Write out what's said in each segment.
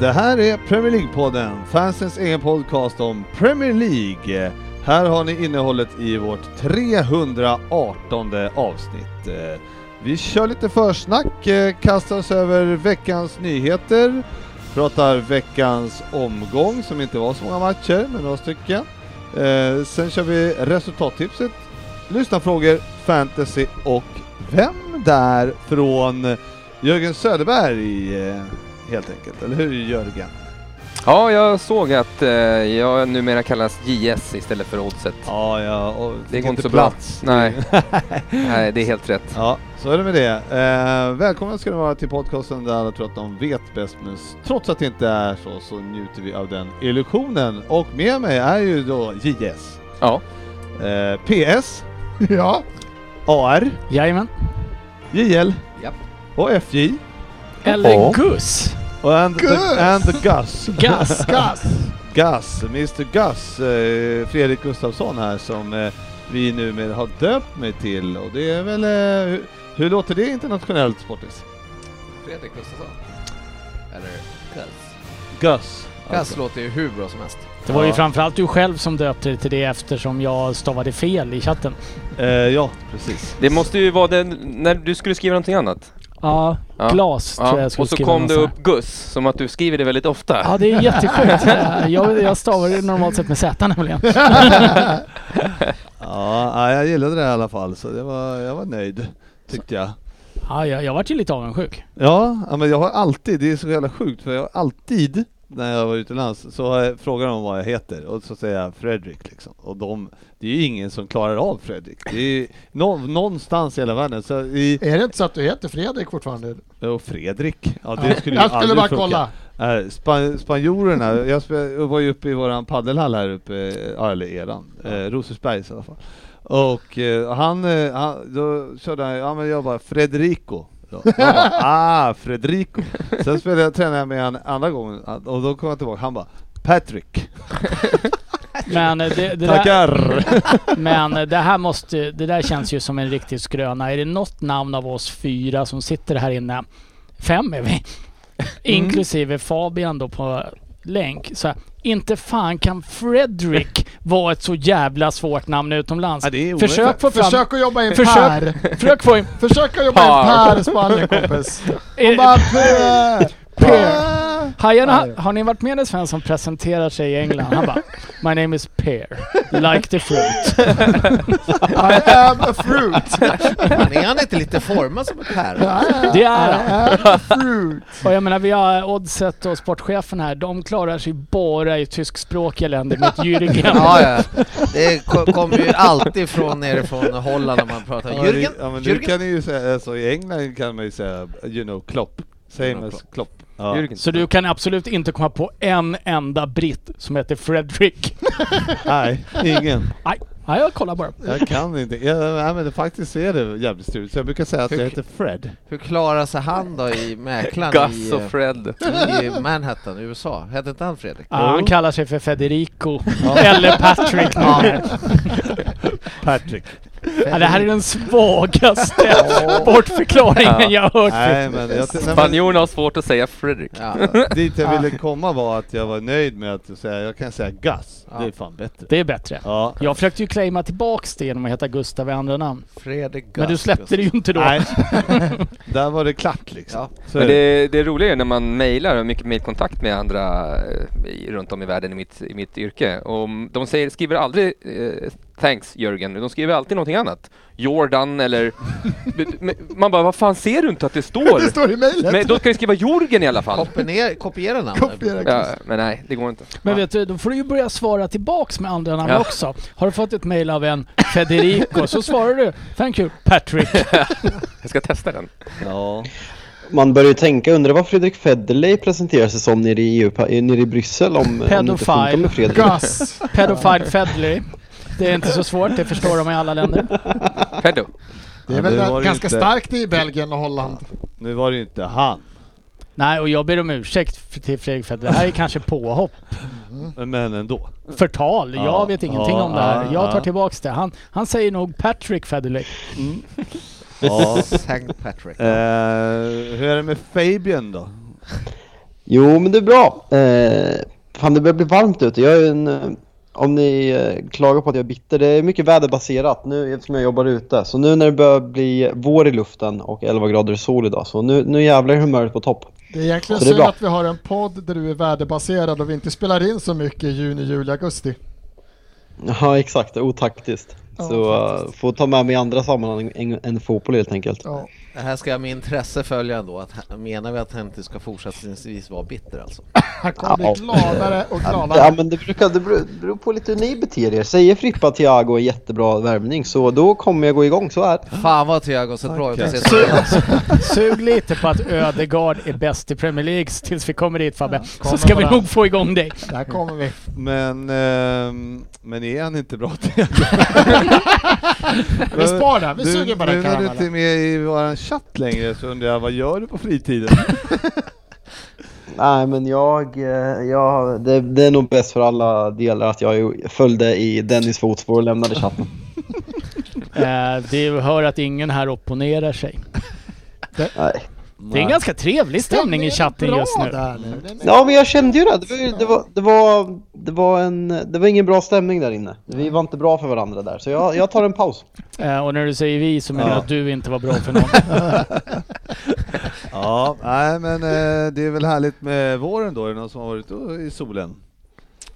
Det här är Premier League-podden, fansens egen podcast om Premier League. Här har ni innehållet i vårt 318 avsnitt. Eh, Vi kör lite försnack, eh, kastar oss över veckans nyheter, pratar veckans omgång som inte var så många matcher, men några stycken. Eh, Sen kör vi resultattipset, lyssnarfrågor, fantasy och Vem där från Jörgen Söderberg eh, helt enkelt, eller hur Jörgen? Ja, jag såg att eh, jag numera kallas JS istället för Oddset. Ja, ja, och Det fick går inte inte så plats. bra. Nej. Nej, det är helt rätt. Ja, så är det med det. Eh, välkomna ska ni vara till podcasten där alla tror att de vet bäst, men s- trots att det inte är så, så njuter vi av den illusionen. Och med mig är ju då JS, Ja. eh, PS, Ja. AR, Jajamän. JL Japp. och FJ. Eller Ja. Gus. Och and, Gus! The, and the Gus. Gas. Gas. Gus, Mr Gus, eh, Fredrik Gustafsson här som eh, vi numera har döpt mig till och det är väl... Eh, hur, hur låter det internationellt Sportis? Fredrik Gustafsson. Eller Gus. Gus. Gus låter ju hur bra som helst. Det var ju Ja. framförallt du själv som döpte dig till det eftersom jag stavade fel i chatten. Eh, ja, precis. Det måste ju vara den, när du skulle skriva någonting annat. Ja, Ja. glas tror Ja. jag skulle Och så skriva kom det någon upp Gus, som att du skriver det väldigt ofta. sån här. Ja, det är jättesjukt. jag, jag stavar det normalt sett med Z nämligen. Ja, nej, jag gillade det i alla fall så det var, jag var nöjd. Tyckte jag. Ja, jag, jag vart ju lite avundsjuk. Ja, ja, men jag har alltid, det är så jävla sjukt för jag har alltid när jag var utomlands så eh, frågar de vad jag heter och så säger jag Fredrik liksom. Och de, det är ju ingen som klarar av Fredrik. Det är ju nå, någonstans i hela världen. Så i, Är det inte så att du heter Fredrik fortfarande? Eh, och Fredrik, ja det skulle ju jag skulle aldrig bara funka. kolla. Eh, Span spanjorerna, jag spe- jag var ju uppe i våran paddelhall här uppe, eh, ja, eller eran, eh, Rosersbergs i alla fall. Och eh, han, eh, han, då körde han, ja men jag bara Frederico. Ja, jag bara, ah, Frederico. Sen spelade jag, tränade jag med han andra gången och då kom jag tillbaka, han bara Patrick. Men eh, det, det, där, Tackar! men eh, det här måste, det där känns ju som en riktig skröna. Är det något namn av oss fyra som sitter här inne, fem är Mm. vi, inklusive Fabian då på länk. Så här, inte fan kan Fredrik vara ett så jävla svårt namn utomlands. Ja, det är omöjligt. Försök få fram... Försök att jobba i en Försök. Per. Försök få in... Försök att jobba i en Par. Per i Spanien kompis. Eh, Bara Per. Per. Hajarna, Ja, det är- har ni varit med en svensk som presenterar sig i England? Han bara My name is pear, like the fruit. I am a fruit. Men är han inte lite formad som ett päron? Det är han. I am a fruit. Och jag menar vi har Oddset och sportchefen här, de klarar sig bara i tyskspråkiga länder med ett Jürgen. Ja, ja. Det ko- kommer ju alltid från nerifrån Holland när man pratar. Ja, det- Jürgen? Ja, men nu Jürgen? kan ni ju säga, alltså, i England kan man ju säga you know Klopp, same You know, as Klopp. Ja. Jürgen. Så du kan absolut inte komma på en enda britt som heter Fredrik. Nej, ingen. Nej, nej, jag kollar bara. Jag kan inte. Jag, nej, men det faktiskt är det jävligt struligt, så jag brukar säga att jag heter Fred. Hur klarar sig han då i mäklaren i, Gus och Fred. eh, i Manhattan, USA? Hette inte han Fredrik? Ja, han kallar sig för Federico, eller Patrick. Patrick. Ja, det här är den svagaste bortförklaringen jag har hört. nej, men jag, nej, Spanjorerna har svårt att säga Fredrik. Ja. men dit jag Ah. ville komma var att jag var nöjd med att säga, jag kan säga Gus. Ja. Det är fan bättre. Ah. Det är bättre. Ja. Jag försökte ju claima tillbaks det genom att heta Gustav i andra namn. Fredrik Gus. Men du släppte det ju inte då. Nej. Där var det klart liksom. Ja. Så Men är det. det, det roliga är när man mejlar och har mycket mejlkontakt med andra eh, i- runt om i världen i mitt, i mitt yrke. Och m- de säger, skriver aldrig eh, Thanks Jörgen. De skriver alltid någonting annat. Jordan eller... B- b- Man bara, vad fan ser du inte att det står? Det står i mejlet! Men då ska jag skriva Jorgen i alla fall. Kopiera, kopiera namnet. Kopiera Ja, Chris. men nej, det går inte. Men vet du, då får du ju börja svara tillbaks med andra namn Ja. också. Har du fått ett mail av en Federico så svarar du Thank you Patrick. Jag ska testa den. Ja. Man börjar ju tänka, undrar vad Fredrik Federley presenterar sig som nere i, E EU, eh, nere i Bryssel om, om det inte funkar Pedofile. med Fredrik. Gus! Pedophile Fedley. Det är inte så svårt, det förstår de i alla länder. Peddo. Det Ja, det är var väl det ganska inte. starkt i Belgien och Holland. Nu var det ju inte han. Nej, och jag ber om ursäkt f- till Fredrik Federley. Det här är kanske påhopp, Men ändå. förtal. Jag Ja, vet ingenting ja, om det här. ja, Jag tar ja. tillbaks det. Han, han säger nog Patrick Federley. Ja. St. Patrick. Eh, hur är det med Fabian då? Jo, men det är bra. Eh, fan, det börjar bli varmt ute. Jag är en, eh, om ni eh, klagar på att jag är bitter, det är mycket väderbaserat nu eftersom jag jobbar ute. Så nu när det börjar bli vår i luften och 11 grader sol idag, så nu, nu jävlar är humöret på topp. Det är egentligen Så det är synd bra. att vi har en podd där du är värdebaserad och vi inte spelar in så mycket i juni, juli, augusti. Ja, exakt. Det är Otaktiskt. Ja, så faktiskt. eh, får ta med mig i andra sammanhang än, än fotboll helt enkelt. Ja. Det här ska jag med intresse följa ändå. Att, han- menar vi att han inte ska fortsättningsvis vara bitter alltså? Han kommer bli Ja. gladare och Ja, gladare. men det, brukar, det beror- beror på lite hur ni beter er. Säger Frippa att Thiago är jättebra värmning så då kommer jag gå igång, så är det. Fan vad Thiago har sett bra ut de Okej. senaste åren. Sug lite på att Ödegard är bäst i Premier League tills vi kommer dit Fabbe. Så kommer ska vi bara. nog få igång dig. Där kommer vi. Men, ehm, men är han inte bra till Vi sparar den, vi Du- suger bara Nu när du karamellen. inte är med i våran chatt längre så undrar jag, vad gör du på fritiden? Nej, men jag, eh, jag det, det är nog bäst för alla delar att jag ju följde i Dennis fotspår och lämnade chatten. Eh, du hör att ingen här opponerar sig. Nej. Det är en ganska trevlig stämning i chatten Bra just nu. Där nu. Den är- Ja, men jag kände ju det. Det var, det, var, det, var, det, var en, det var ingen bra stämning där inne. Vi var inte bra för varandra där, så jag, jag tar en paus. Eh, och när du säger vi så menar jag att du inte var bra för någon. ja, nej men eh, det är väl härligt med våren då, är det någon som har varit ute i solen?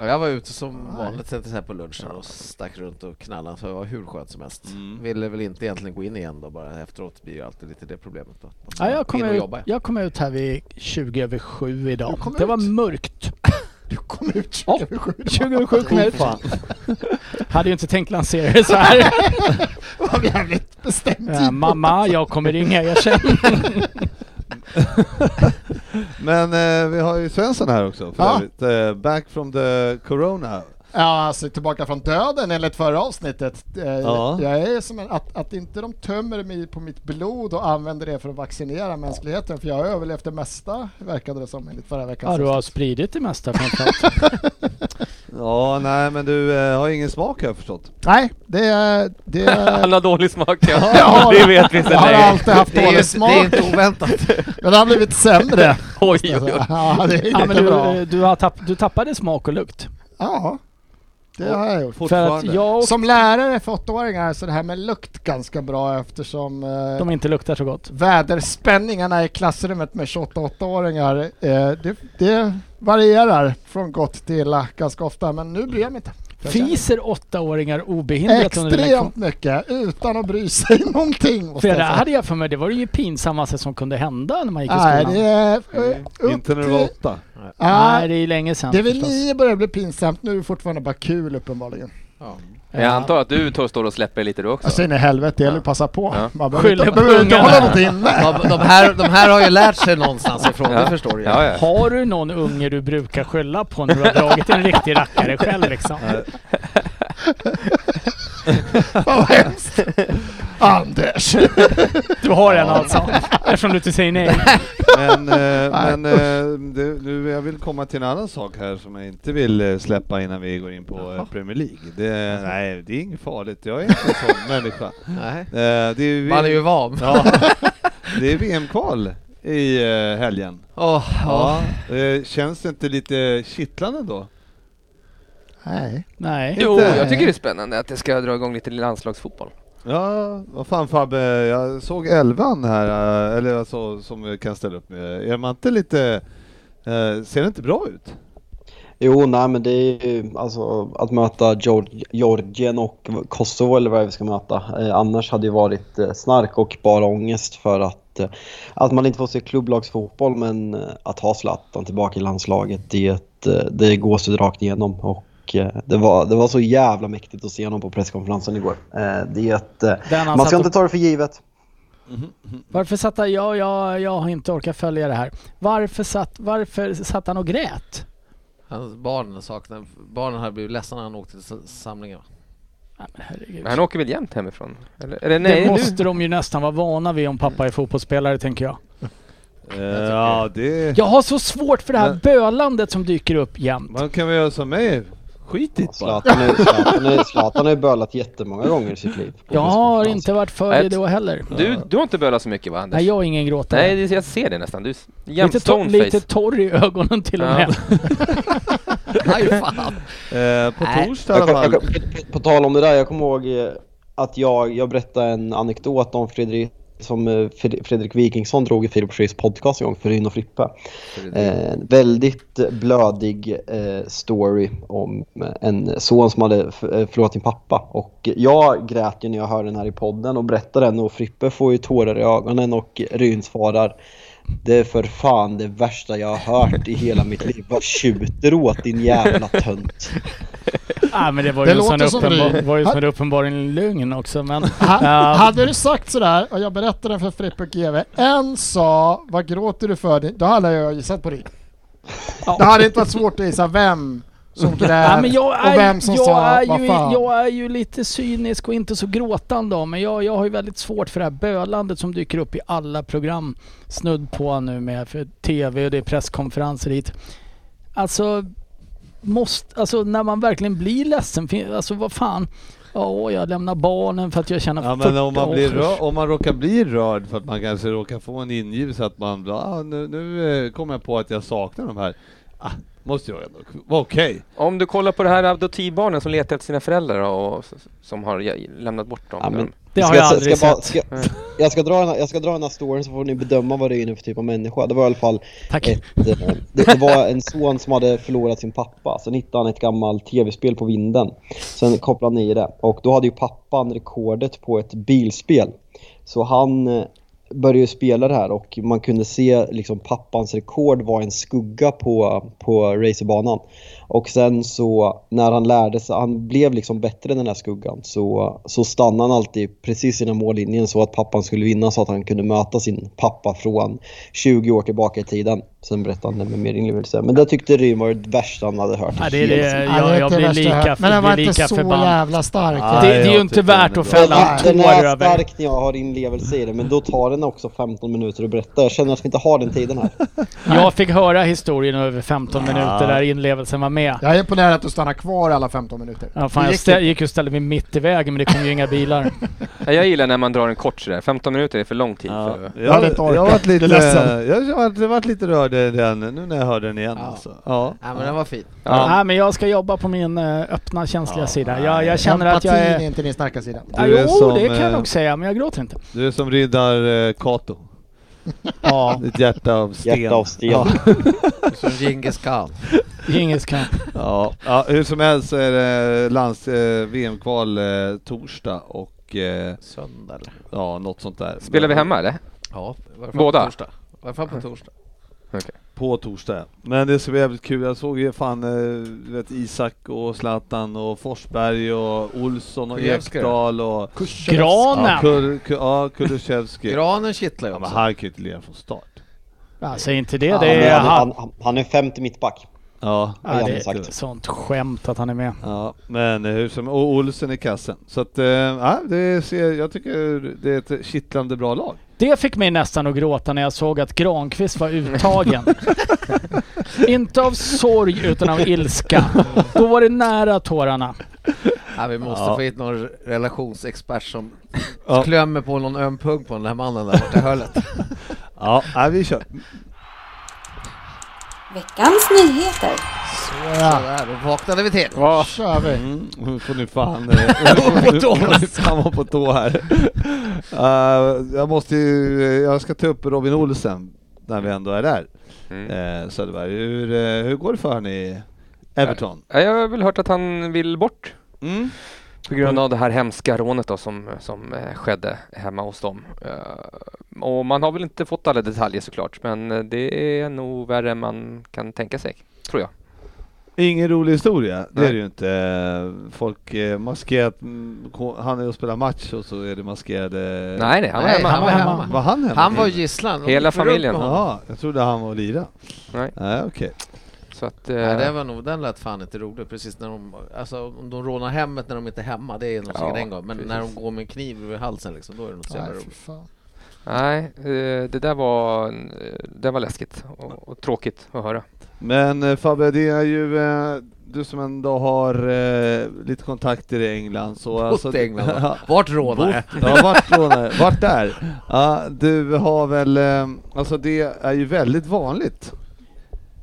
Ja, jag var ute som vanligt så här på lunchen och stack runt och knallade så det var hur skönt som helst. Ville väl inte egentligen gå in igen då bara efteråt blir ju alltid lite det problemet då. Man Ja, ska jag, kom in och ut, jobba. jag kom ut här vid 20 över 7 idag. Du kom Det var ut? mörkt. Du kom ut 20 Ja, över sju. 20 över 7 kom jag ut. Hade ju inte tänkt lansera det så här. Det var jävligt bestämt. Eh, mamma, jag kommer ringa er sen. Men eh, vi har ju Svensson här också för Ja. övrigt. Eh, back from the corona. Ja, alltså tillbaka från döden enligt förra avsnittet. Eh, Ja. Jag är som en, att, att inte de tömmer mig på mitt blod och använder det för att vaccinera mänskligheten, för jag har överlevt det mesta, verkade det som enligt förra veckans Ja, du har avsnitt. spridit det mesta framförallt. Ja, nej men du eh, har ingen smak har jag förstått. Nej, det är... Det är Han har dålig smak Ja, ja. Det vet vi jag sedan har länge. alltid haft Det är, dålig ju- det är smak, inte oväntat. men det har blivit sämre. Oj, oj, oj. Ja, det är inte Ja, men bra. du, eh, du, har tapp, du tappade smak och lukt. Ja, det har jag gjort. För att Fortfarande. jag och Som lärare för åttaåringar så är det här med lukt ganska bra eftersom eh, de inte luktar så gott. väderspänningarna i klassrummet med 28-åringar, eh, det, det varierar från gott till illa ganska ofta, men nu bryr jag mig inte. Jag känner Fiser åttaåringar obehindrat under lektion. Extremt mycket, utan att bry sig någonting. måste För det jag säga. hade jag för mig, det var det ju pinsammaste som kunde hända när man gick i Nej, skolan. det är... eh, upp Inte när du till- var åtta. Ja, Nej, det är ju länge sedan det är väl förstås. nio börjar bli pinsamt, nu är det fortfarande bara kul uppenbarligen. Jag antar att du tor- står och släpper lite du också. Jag säger Alltså, nej helvete, det gäller att passa på. Ja. Man behöver Skyller inte, på behöver inte ungarna. hålla något inne. De, de, här, de här har ju lärt sig någonstans ifrån, det förstår du ju. Ja, ja. Har du någon unge du brukar skylla på när du har dragit en riktig rackare själv liksom? Vad hemskt. Anders. Du har en alltså? Eftersom du inte säger nej. Men, eh, men eh, det, nu, jag vill komma till en annan sak här som jag inte vill eh, släppa innan vi går in på eh, Premier League. Det, nej, det är inget farligt. Jag är inte en sån människa. Nej. Eh, det är ju Man är ju van. Ja, det är VM-kval i eh, helgen. Åh, ja. Ja. eh, Känns det inte lite kittlande då? Nej. Nej. Jo, jag tycker det är spännande att det ska dra igång lite landslagsfotboll. Ja, vad fan Fabbe, jag såg elvan här, eh, eller alltså som vi kan ställa upp med. Är man inte lite... eh, Ser det inte bra ut? Jo, nej men det är ju alltså att möta Geor- Georgien och Kosovo eller vad vi ska möta. Eh, annars hade ju varit eh, snark och bara ångest för att, eh, att man inte får se klubblagsfotboll men eh, att ha Zlatan tillbaka i landslaget det, är ett, eh, det gås ju rakt igenom. Och, eh, det, var, det var så jävla mäktigt att se honom på presskonferensen igår. Eh, det är ett, eh, Den han man ska satt inte och- ta det för givet. Varför satt han... Ja, ja, jag har inte orkat följa det här. Varför satt, varför satt han och grät? Hans barn saknade, barnen hade blivit ledsna när han åkte till s- samlingen. va? Nej, men herregud. Men han åker väl jämt hemifrån? Eller, eller nej, det nu. måste de ju nästan vara vana vid om pappa är fotbollsspelare, tänker jag. Eh, ja, det... Jag har så svårt för det här Men- bölandet som dyker upp jämt. Man kan väl göra som mig? Skit i det bara. Zlatan är- Zlatan är- Zlatan har ju bölat jättemånga gånger i sitt liv. på Jag har presskonferensen. inte varit för det Ett- då heller. Du, du har inte bölat så mycket va Anders? Nej, jag är ingen gråtare. Nej, det- jag ser det nästan. Du är jämt lite, to- stoneface. lite torr i ögonen till och Ja. med. Nej fan! Eh, på Nej. torsdag i Jag alla kom, fall. jag kom, på, på tal om det där, jag kommer ihåg eh, att jag, jag berättade en anekdot om Fredrik som eh, Fred- Fredrik Wikingsson drog i Filip Schreys podcast en gång, Fryn och Frippe. Eh, väldigt blödig eh, story om eh, en son som hade f- eh, förlorat sin pappa. Och jag grät ju när jag hörde den här i podden och berättade den och Frippe får ju tårar i ögonen och Ryn svarar det är för fan det värsta jag har hört i hela mitt liv. Vad tjuter du åt din jävla tönt? ah, men det var Det ju en sån låter som uppenbar, Ryd. var ju som en uppenbarligen lugn också. Men, Ha, Ja. hade du sagt sådär, och jag berättade för Frippe och GV, en sa vad gråter du för? Då hade jag gissat på det. Det hade inte varit svårt att gissa vem som grät Ja, men jag är, och vem som jag, sa är vad ju, fan. jag är ju lite cynisk och inte så gråtande om, men jag, jag har ju väldigt svårt för det här bölandet som dyker upp i alla program snudd på nu med för TV och det är presskonferenser hit. Alltså, måste, alltså när man verkligen blir ledsen, fin- alltså vad fan. Ja, åh, jag lämnar barnen för att jag känner Ja, men om 40 man, blir års- rör, om man råkar bli rörd för att man kanske råkar få en ingivelse att man blir, ah, nu, nu eh, kommer jag på att jag saknar de här. Ah, måste jag ändå vara okej. Om du kollar på det här adoptivbarnen som letar efter sina föräldrar och s- som har ja, lämnat bort dem. Ja, men- Det har jag Ska- aldrig ska bara- sett. Ska, jag, ska dra den här, jag ska dra den här storyn så får ni bedöma vad det är inne för typ av människa. Det var i alla fall Tack. ett, eh, det, det var en son som hade förlorat sin pappa. Sen hittade han ett gammalt tv-spel på vinden. Sen kopplade han i det. Och då hade ju pappan rekordet på ett bilspel. Så han eh, började ju spela det här och man kunde se liksom pappans rekord var en skugga på, på racerbanan. Och sen så när han lärde sig, han blev liksom bättre än den här skuggan, så, så stannade han alltid precis innan mållinjen så att pappan skulle vinna så att han kunde möta sin pappa från 20 år tillbaka i tiden. Sen berättade han det med mer inlevelse. Men det tyckte Rym var det värsta han hade hört. i Ja, det är hela det. sitt- Ja, det Jag, är jag inte blir värsta jag lika, hört. Men den var blir inte lika så förbannad. jävla stark. Ah. Det, Nej, det är jag ju inte tycker värt den är att bra. fälla Den en är, den tår är över. stark när jag har inlevelse i det, men då tar den också 15 minuter att berätta. Jag känner att vi inte har den tiden här. Jag fick höra historien över 15 minuter där inlevelsen var med. Jag är imponerad att du stannar kvar alla 15 minuter. Ja, fan, Det jag gick stä- gick ju och ställde mig mitt i vägen men det kom ju inga bilar. Ja, Jag gillar när man drar en kort sådär. 15 minuter är för lång tid. För, Jag, hade inte orkat. jag varit lite, Jag är ledsen. jag har varit, varit lite rörd i den, nu när jag hör den igen Ja. alltså. Ja. Nej men den var fin. Ja. Ja. men jag ska jobba på min eh, öppna känsliga Ja, sida. nej. Jag, jag känner att Empatin jag är är... inte din starka sida. Ja, Du är jo, som, det kan jag eh, nog säga, men jag gråter inte. Du är som riddar eh, Kato, Ja, ditt hjärta av sten. Hjärta av sten. Ja. Som Djingis khan. Djingis khan. Ja, ja, hur som helst så är det lands eh, VM-kval eh, torsdag och eh, Söndag eller? ja, något sånt där. spelar vi hemma eller? Ja, i varje fall Båda? på torsdag. I varje fall på torsdag. På torsdag. Men det ska bli jävligt kul. Jag såg ju fan eh, du vet, Isak och Zlatan och Forsberg och Olsson och Kulusevski. Ekdal och... Ja, Granen! Kur, Kur, ja Kulusevski. Granen kittlar ju Ja, men också. han kan ju inte lira från start. Ja, Säg inte det, Han det är, är han, han. han, han är femte mittback. Ja. Ja, det Exakt. är sånt skämt att han är med. Ja, men eh, hur som Och Olsen i kassen. Så att, eh, ja, det ser, jag tycker det är ett kittlande bra lag. Det fick mig nästan att gråta när jag såg att Granqvist var uttagen. inte av sorg utan av ilska. Då var det nära tårarna. Ja, vi måste Ja. få hit någon relationsexpert som Ja. klämmer på någon öm punkt på den där mannen där borta i hörnet. Ja, ja vi kör. Veckans nyheter. Ja, Sådär, då vaknade vi till. Ja. kör vi. Mm, nu får ni fan... eh, nu får ni- nu får ni fan vara på tå här. Eh, jag måste ju, eh, jag ska ta upp Robin Olsen när vi ändå är där. Mm. Eh, Söderberg, hur, eh, hur går det för henne i Everton. Nej, Jag har väl hört att han vill bort Mm. på grund av det här hemska rånet då som, som eh, skedde hemma hos dem. Eh, Och man har väl inte fått alla detaljer såklart, men eh, det är nog värre än man kan tänka sig, tror jag. Ingen rolig historia, det Nej. är det ju inte. Folk eh, maskerat, mm, ko- han är och spelar match och så är det maskerade... Nej, nej, han var Eh, Nej, hemma. han var hemma. Var han hemma? Han var gisslan. Hela Runt på familjen. honom. Ja, jag trodde han var och lira. Nej. Nej, okej. Så att, Nej, det eh, var nog, den lät fan inte rolig precis när de, alltså om de rånar hemmet när de inte är hemma, det är något Ja, säkert en gång. Men när de precis. går med en kniv över halsen liksom, då är det något så jävla Nej, fy roligt. fan. nej, eh, det där var, en- eh, det var läskigt och, och tråkigt att höra. Men eh, Fabbe, det är ju eh, du som ändå har eh, lite kontakter i England så... Bott alltså- i England Ja, va? Vart rånare? Bott- Ja, vart rånare? Vart där? Ja, du har väl, eh, alltså det är ju väldigt vanligt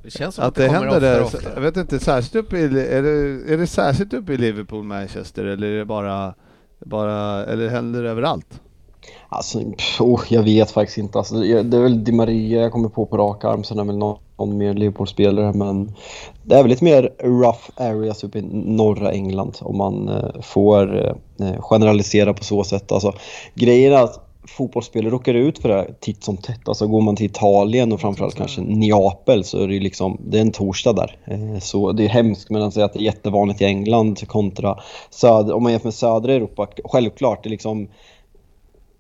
Det känns som att det kommer händer oftare där. och oftare. Jag vet inte, särskilt uppe i, är, det, är det särskilt uppe i Liverpool, Manchester eller är det bara, bara eller händer det överallt? Alltså, pff, oh, jag vet faktiskt inte. Alltså, det det är väl Di Maria jag kommer på på rak arm. Sen är det väl någon, någon mer Liverpool-spelare. Men det är väl lite mer rough areas uppe i norra England om man eh, får eh, generalisera på så sätt. Alltså, grejen är att fotbollsspelare råkar ut för det här titt som tätt. Alltså, går man till Italien och framförallt kanske Neapel så är det ju liksom, det är en torsdag där. Eh, Så det är hemskt, men att säga att det är jättevanligt i England kontra söder, om man jämför med södra Europa. Självklart, det är liksom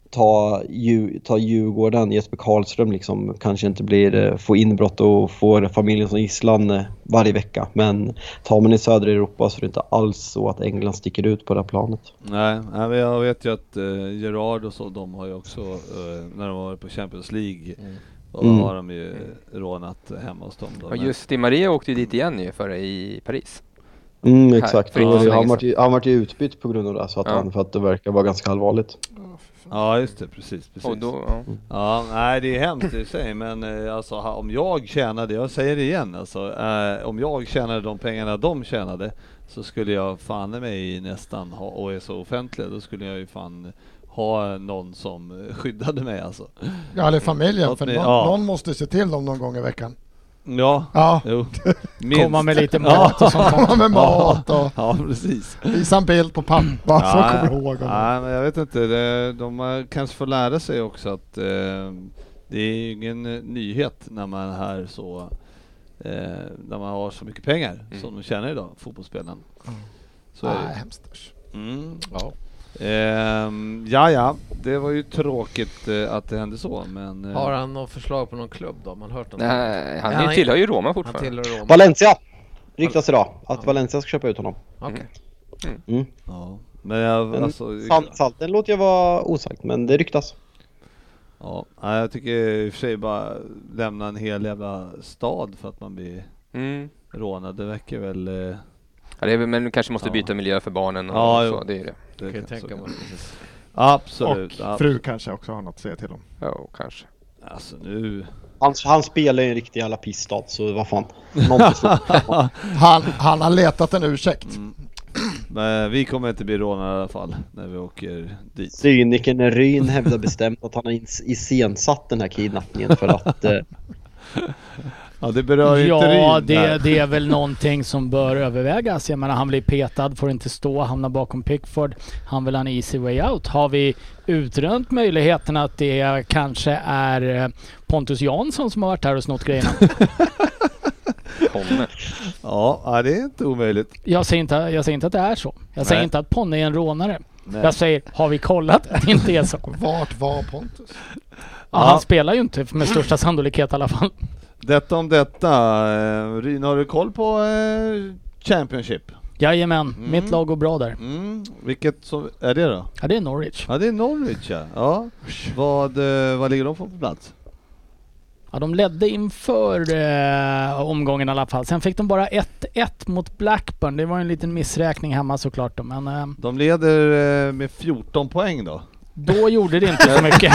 ta, Dju- ta Djurgården, Jesper Karlström liksom, kanske inte blir, eh, får inbrott och får familjen som gisslan eh, varje vecka. Men tar man i södra Europa så är det inte alls så att England sticker ut på det här planet. Nej, nej, men jag vet ju att eh, Gerard och så, de har ju också, eh, när de har varit på Champions League, och då Mm. har de ju rånat hemma hos dem. Då. Och Men- just Di Maria åkte ju dit igen ju förra i Paris. Mm, Här, exakt. för inte Och så länge han vart ju- han vart ju utbytt på grund av det, här, så att Ja. han, för att det verkar vara ganska allvarligt. Ja just det, precis. precis. Och då, ja. Mm. Ja, nej det är hemskt i sig men eh, alltså ha- om jag tjänade, jag säger det igen alltså, eh, om jag tjänade de pengarna de tjänade så skulle jag fan i mig nästan ha, och är så offentlig, då skulle jag ju fan ha någon som eh, skyddade mig alltså. Ja, eller familjen. Låt För mig- någon, ja. någon måste se till dem någon gång i veckan. Ja, Ja, jo. Komma med lite mat och sånt. komma med mat och Ja precis. visa en bild på pappa så Ja, kommer ihåg honom. Nej men jag vet inte, det, de eh, kanske får lära sig också att eh, det är ju ingen eh, nyhet när man är här så, eh, när man har så mycket pengar Mm. som de tjänar idag, fotbollsspelaren. Så är Nej, det hemskt. usch. ju. mm. Ja. Ehm, Ja ja, det var ju tråkigt eh, att det hände så men... eh, Har han något förslag på någon klubb då? Har man hört något? Nej, han, Han är- tillhör ju Roma Han fortfarande. tillhör Roma. Valencia! Ryktas idag att Valencia ska köpa ut honom. Okej. ja. Men jag, Mm. Men alltså, Sant, sant. Den låter jag vara osagt, men det ryktas. ja, nej, jag tycker i och för sig bara lämna en hel jävla stad för att man blir Mm. rånad, det verkar väl... eh, Ja, det är, väl- men du kanske måste Ja. byta miljö för barnen och Ja, jo. så. Det är det. det Kan jag kan- så tänka kan- mig. Precis. Absolut. ja. Och fru kanske också har något att säga till om. Ja, kanske. Alltså nu... Han, han spelar ju en riktig jävla pissstad, så vad fan. Någon får slå. Han, han har letat en ursäkt. Mm. Men vi kommer inte bli rånade i alla fall när vi åker dit. Cynikern Ryn hävdar bestämt att han har ins- iscensatt den här kidnappningen för att... Eh, Ja det berör ju inte Ja, Ryn det, där. det är väl någonting som bör övervägas. Jag menar, han blir petad, får inte stå, hamnar bakom Pickford. Han vill ha en easy way out. Har vi utrönt möjligheten att det kanske är eh, Pontus Jansson som har varit här och snott grejerna? Ponne. Ja, ja, det är inte omöjligt. Jag säger inte, jag säger inte att det är så. Jag säger Nej. inte att Ponne är en rånare. Nej. Jag säger, har vi kollat att det inte är så? Vart var Pontus? Ja, Han spelar ju inte med största sannolikhet i alla fall. Detta om detta. Eh, Ryn, har du koll på eh, Championship? Jajamän, Mm. mitt lag går bra där. Mm, vilket som, är det då? Ja, det är Norwich. Ja det är Norwich ja. ja. Vad, eh, vad ligger de på för plats? Ja, de ledde inför eh, omgången i alla fall. Sen fick de bara 1-1 mot Blackburn. Det var ju en liten missräkning hemma såklart då, men eh, De leder eh, med 14 poäng då. Då gjorde det inte så mycket.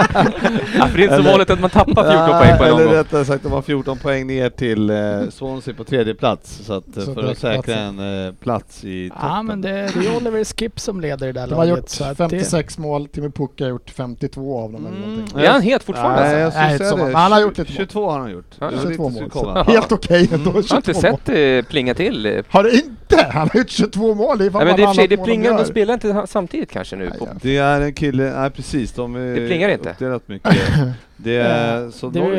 Ja, för det är inte så Eller- vanligt att man tappar 14 poäng på en Eller omgång. rättare sagt, de har 14 poäng ner till eh, Swansea på tredje plats så att, eh, Så för det är att säkra platsen. en eh, plats i toppen. ja, men det, det är Oliver Skip som leder det där De har laget. gjort så att eh, 56 mål, Timmy Pukka har gjort 52 av dem eller Mm. någonting. Är han het fortfarande? alltså? Nej, jag Nej, skulle så- säga det. men han har gjort lite mål. 22 har han gjort. Ja, Det var 22 dit vi Mm. skulle mål. Så komma. helt okej ändå. 22 Jag har inte mål. sett det plinga till. eh. Har du inte? Han har gjort 22 mål. Det är fan Nej, men det, i och för sig, varannat det mål de plingar, gör. de spelar inte ha- samtidigt kanske nu. På. Det är en kille, nej precis, de är Det plingar inte. uppdelat mycket. Det är så Det Norwich-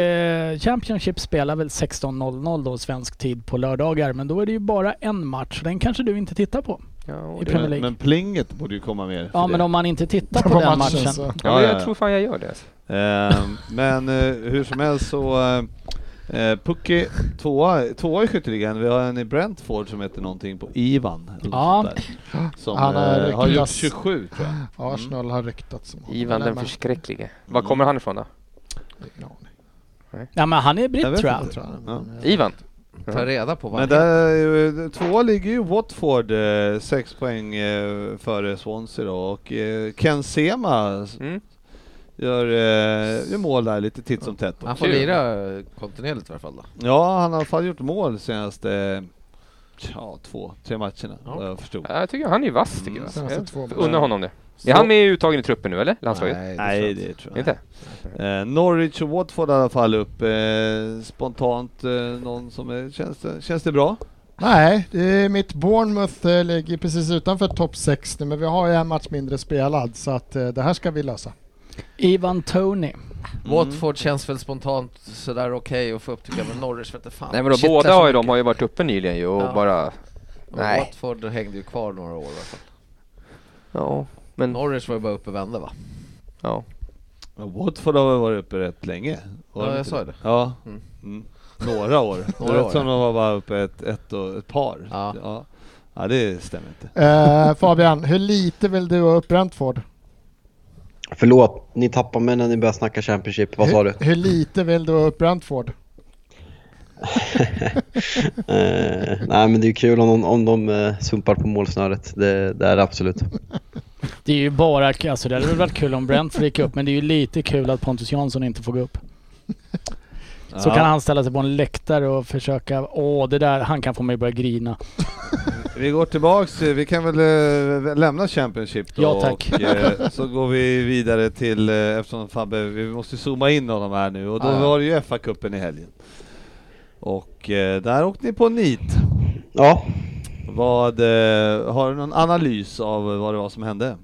är, eh, Championship spelar väl 16.00 då svensk tid på lördagar, men då är det ju bara en match. så Den kanske du inte tittar på. Ja, och I det, Premier men, League. men plinget borde ju komma mer. Ja, för men det. om man inte tittar på på den matchen, matchen. så. ja, Ja, men ja, jag ja. tror fan jag gör det. alltså. Ehm, men eh, hur som helst så eh, eh, Pucky tvåa, tvåa i skytteligan. Vi har en i Brentford som heter någonting på Ivan. eller Ja. något sånt där. Som Han har eh, har gjort lyckats. 27 tror jag. Arsenal har ryktats om honom. Ivan Men- den förskräcklige. Var kommer han ifrån då? Ingen aning. Ja, men han är britt Jag vet tror jag. inte. Tror jag. Ja. Ivan? Ta reda på vad Men han där, heter. är ju- tvåa ligger ju Watford, eh, sex poäng eh, före Swansea då. Och eh, Ken Sema s- Mm. gör, eh, gör mål där lite titt som tätt. då. Han får Kul. lira eh, kontinuerligt i alla fall då. Ja, han har i alla fall gjort mål senaste eh, ja, två, tre matcherna Ja. vad jag förstod. Ja, jag tycker han är vass tycker jag. Senaste två jag. månaderna. Unnar honom det. Är han med i uttagen i truppen nu eller? Landslaget? Nej, Nej, tror det tror jag Inte? Eh, Norwich och Watford i alla fall upp. Eh, spontant eh, någon som är, känns, det, känns det bra? Nej, det är mitt Bournemouth eh, ligger precis utanför topp 6 nu, men vi har ju en match mindre spelad så att eh, det här ska vi lösa. Ivan Tony. jag. Watford känns väl spontant sådär okej att få upp tycker jag, men Norwich vete fan. Nej men då, Shit, båda alltså, har ju, de har ju varit uppe nyligen ju och Ja. bara... men Nej. Watford hängde ju kvar några år i alla fall. Ja, men... Norwich var ju bara uppe och vände va? Ja. Men Watford har väl varit uppe rätt länge? Var Ja, de jag inte sa ju det. Ja. Mm. Mm. Några år. Några det år, lät som de var bara uppe ett, ett, och ett par. Ja. Ja. Ja, det stämmer inte. Eh, Fabian, hur lite vill du ha upp Brentford? Förlåt, ni tappar mig när ni börjar snacka Championship. Vad sa du? Hur, hur lite vill du ha upp Brentford? Eh, nej, men det är ju kul om, de- om de eh, sumpar på målsnöret. Det, det är det absolut. Det är ju bara, alltså det hade väl varit kul om Brentford gick upp, men det är ju lite kul att Pontus Jansson inte får gå upp. Så ja. kan han ställa sig på en läktare och försöka, åh det där, han kan få mig att börja grina. Vi går tillbaks, eh, vi kan väl eh, lämna Championship då Ja, tack. och eh, så går vi vidare till, eh, eftersom Fabbe, vi måste zooma in honom här nu och då Ja, ja. var det ju FA-cupen i helgen. Och eh, där åkte ni på nit. Ja, Vad, eh, har du någon analys av eh, vad det var som hände?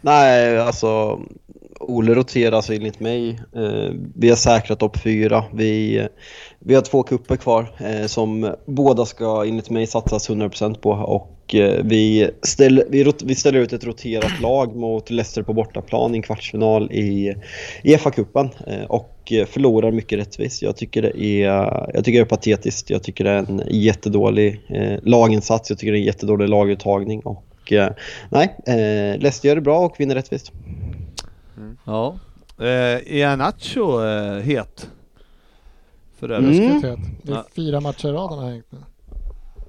Nej, alltså Ole roterar alltså enligt mig. Eh, vi har säkrat topp fyra. Vi, vi har två kupper kvar eh, som båda ska enligt mig satsas 100% på. Och eh, vi, ställer, vi, rot- vi ställer ut ett roterat lag mot Leicester på bortaplan i en kvartsfinal i, i FA-cupen. Eh, och eh, förlorar mycket rättvist. Jag tycker det är, jag tycker det är patetiskt. Jag tycker det är en jättedålig eh, laginsats. Jag tycker det är en jättedålig laguttagning. Och, eh, Nej, eh, Leicester gör det bra och vinner rättvist. Ja. Eh, är Anacho eh, het? För övrigt. Mm. Ska jag säga att Det är Ja. fyra matcher i rad han har hängt nu.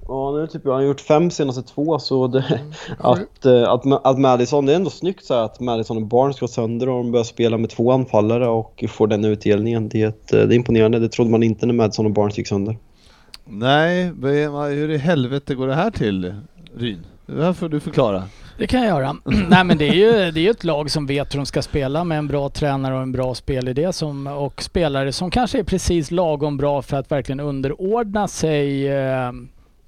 Ja, nu typ, han har gjort fem senaste två så det, Sju. att, eh, att, Ma- att Madison, det är ändå snyggt så här att Madison och Barnes går sönder och de börjar spela med två anfallare och får den utdelningen. Det är, ett, eh, det är imponerande, det trodde man inte när Madison och Barnes gick sönder. Nej, men hur i helvete går det här till, Ryn? Det här får du förklara. Det kan jag göra. Nej men det är ju det är ju ett lag som vet hur de ska spela med en bra tränare och en bra spelidé som, och spelare som kanske är precis lagom bra för att verkligen underordna sig eh,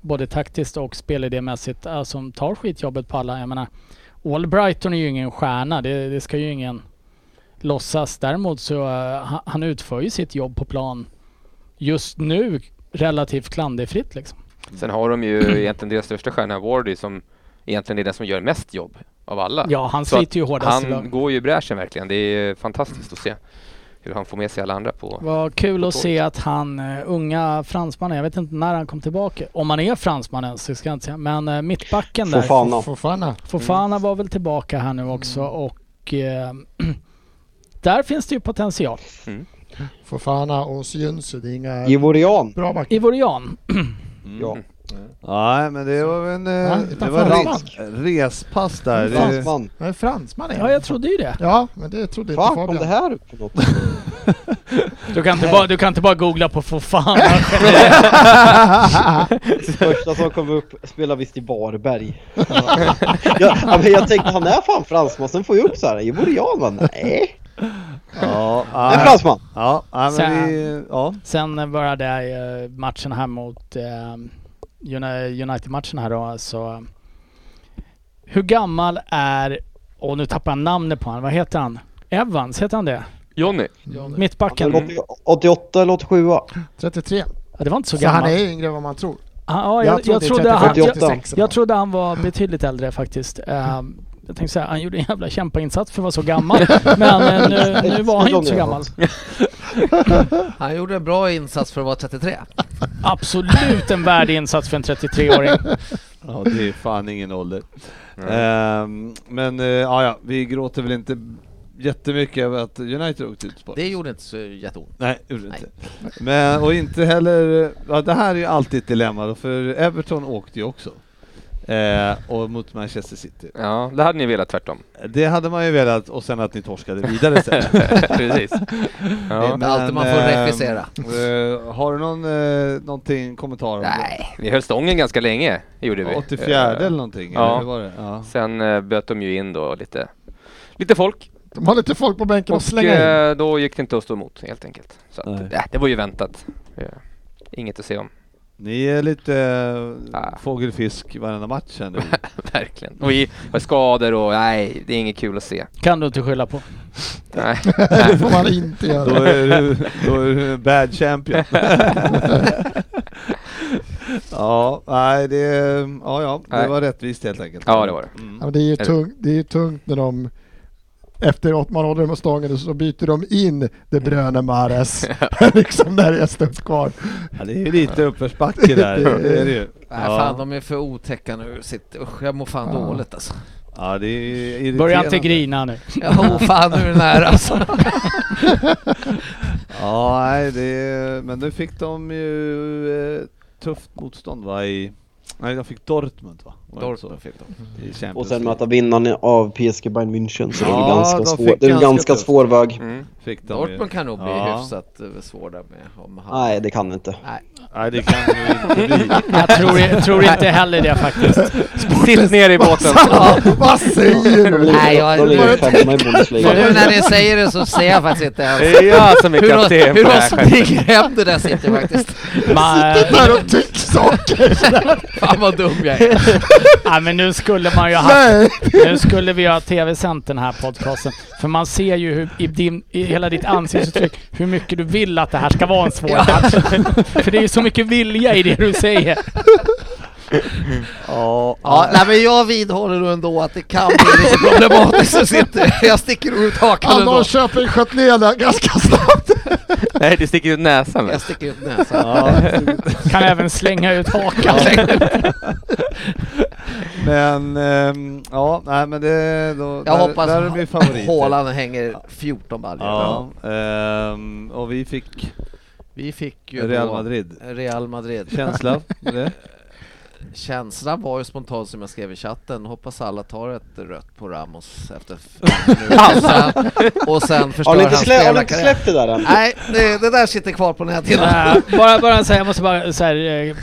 både taktiskt och spelidémässigt eh, som tar skitjobbet på alla. Jag menar, All Brighton är ju ingen stjärna, det, det ska ju ingen låtsas. Däremot så eh, ha- han utför ju sitt jobb på plan just nu relativt klanderfritt liksom. Sen har de ju egentligen deras största stjärna Wardy som egentligen är den som gör mest jobb av alla. Ja, han Så att sliter ju hårdast i laget. Han går ju i bräschen verkligen. Det är fantastiskt att se hur han får med sig alla andra på... Vad kul att se att han, eh, unga fransmannen, jag vet inte när han kom tillbaka. Om han är fransman ens, det ska jag inte säga. Men eh, mittbacken där, Fofana. Ja. Fofana. Fofana Mm. var väl tillbaka här nu också och eh, där finns det ju potential. Fofana och Syunsu, det är inga Givorian! bra backar. Ivorian, Mm. Ja. Nej, men det var en... eh, Nej, Det var utanför re- respass där. Det, Fransman. Jag är fransman igen. Ja, jag trodde ju det. Ja, men det trodde inte Fan kom Fabian. det här upp för något? Du kan inte bara, du kan inte bara googla på för fan. Första som kom upp spelar visst i Varberg. ja, ja, men jag tänkte han är fan fransman, sen får jag upp så här, iborian man. Nej, ja, han är nej, fransman. ja, nej, men Sen- vi... Ja. Sen började eh, matchen här mot eh, Uni- United-matchen här då, så... Hur gammal är... Och nu tappar jag namnet på honom. Vad heter han? Evans, heter han det? Johnny, Mm. Mittbacken. Han är 88 eller 87 33. Ja, det var inte så Så han gammal. är yngre än vad man tror. Ah, ja, jag, jag, det är trodde han, 37, jag, 88. 36 eller jag trodde han var betydligt äldre faktiskt. Ehm, jag tänkte säga, han gjorde en jävla kämpainsats för att vara så gammal. Men eh, nu, nu var han ju inte så gammal. Han gjorde en bra insats för att vara 33. Absolut en värdig insats för en 33-åring. Ja, det är fan ingen ålder. Ehm, men eh, ja, ja, vi gråter väl inte jättemycket över att United åkte ut på. Det gjorde inte så jätteont. Nej, gjorde det Nej. inte. Men, och inte heller... Ja, det här är ju alltid ett dilemma då, för Everton åkte ju också. Eh, och mot Manchester City. ja det hade ni velat tvärtom. Det hade man ju velat, och sen att ni torskade vidare sen. Precis. Eh, Ja. inte alltid man får ehm, regissera. eh, har du någon, eh, någonting kommentar om Nej, vi höll stången ganska länge, gjorde vi. det? 84 Eh, eller någonting? ja. Eller hur var det? Ja. Sen eh, böt de ju in då lite, lite folk. De har lite folk på bänken och Och slänger in. eh, då gick det inte att stå emot helt enkelt. Så att, Nej. eh, det var ju väntat. Eh, Inget att se om, Ni är lite Ah. äh, fågelfisk varenda match här nu. verkligen. Och i, och skador och nej, det är inget kul att se. Kan du inte skylla på. Nej. Det får man inte då, göra. är du, då är du en bad champion. ja, nej, det, ja, ja, det Nej. var rättvist helt enkelt. Ja, det var det. Ja, Mm. men det, är ju det- tungt, det är ju tungt när de efter att man håller dem och stången så byter de in Mm. De Bruyne Mahrez. liksom där är en stund kvar. Ja, det är ju lite uppförsbacke där, det är det ju. Nej Ja. fan, de är för otäcka nu. Sitt, usch, jag mår fan Ja. dåligt alltså. Ja, det är ju irriterande. Börja inte grina nu. Ja, oh, fan nu är det nära alltså. Ja, nej, det, är- men nu fick de ju eh, tufft motstånd va? I, nej, de fick Dortmund va? Var det inte så? Dortmund fick de. I Champions Och sen League. möta vinnaren av PSG Bayern München så det är Ja, väl ganska de svår, fick det är väl ganska ganska tufft. svår väg. Mm. Fick de ju. Dortmund kan nog bli Ja. hyfsat eh, svår där med. Om han... Nej, det kan det inte. Nej, det kan ju inte bli. Jag tror, jag tror inte heller det faktiskt. Sitt ner i båten. Vad säger De du? Nej, ligger- jag- de ligger jag- femma i Bundesliga. Nu när ni säger det så ser jag faktiskt inte ens Det är jag som är hur de, kapten hur på det de här skeppet. springer hem det där sitter faktiskt. Man, Där och tycker saker. Fan vad dum jag är. nej, men nu skulle man ju ha Nej. Nu skulle vi ha tv-sänt den här podcasten. För man ser ju hur, i, din, i hela ditt ansiktsuttryck hur mycket du vill att det här ska vara en svår match. För det är ju så mycket vilja i det du säger. Ja, Ja, nej, men jag vidhåller nog ändå att det kan bli lite problematiskt att sitta. Jag sticker ut hakan Han ändå. har Köping sköt ner den ganska snabbt. Nej, det sticker ut näsan. Jag väl? sticker ut näsan. ja. Kan även slänga ut hakan. Men ehm, ja, nej men det då, Jag där, hoppas där är vi favoriter. Haaland hänger 14 baljor. Ja, ehm, och vi fick Vi fick ju Real då Madrid. Real Madrid. Känsla? med det? Känslan var ju spontant som jag skrev i chatten, hoppas alla tar ett rött på Ramos efter fem minuter sen, och sen förstör Har ni inte, hans slä, har ni hela inte karriär. släppt det där än? Nej, det, det där sitter kvar på näthinnan. Äh, bara, bara så här, jag måste bara så här, eh,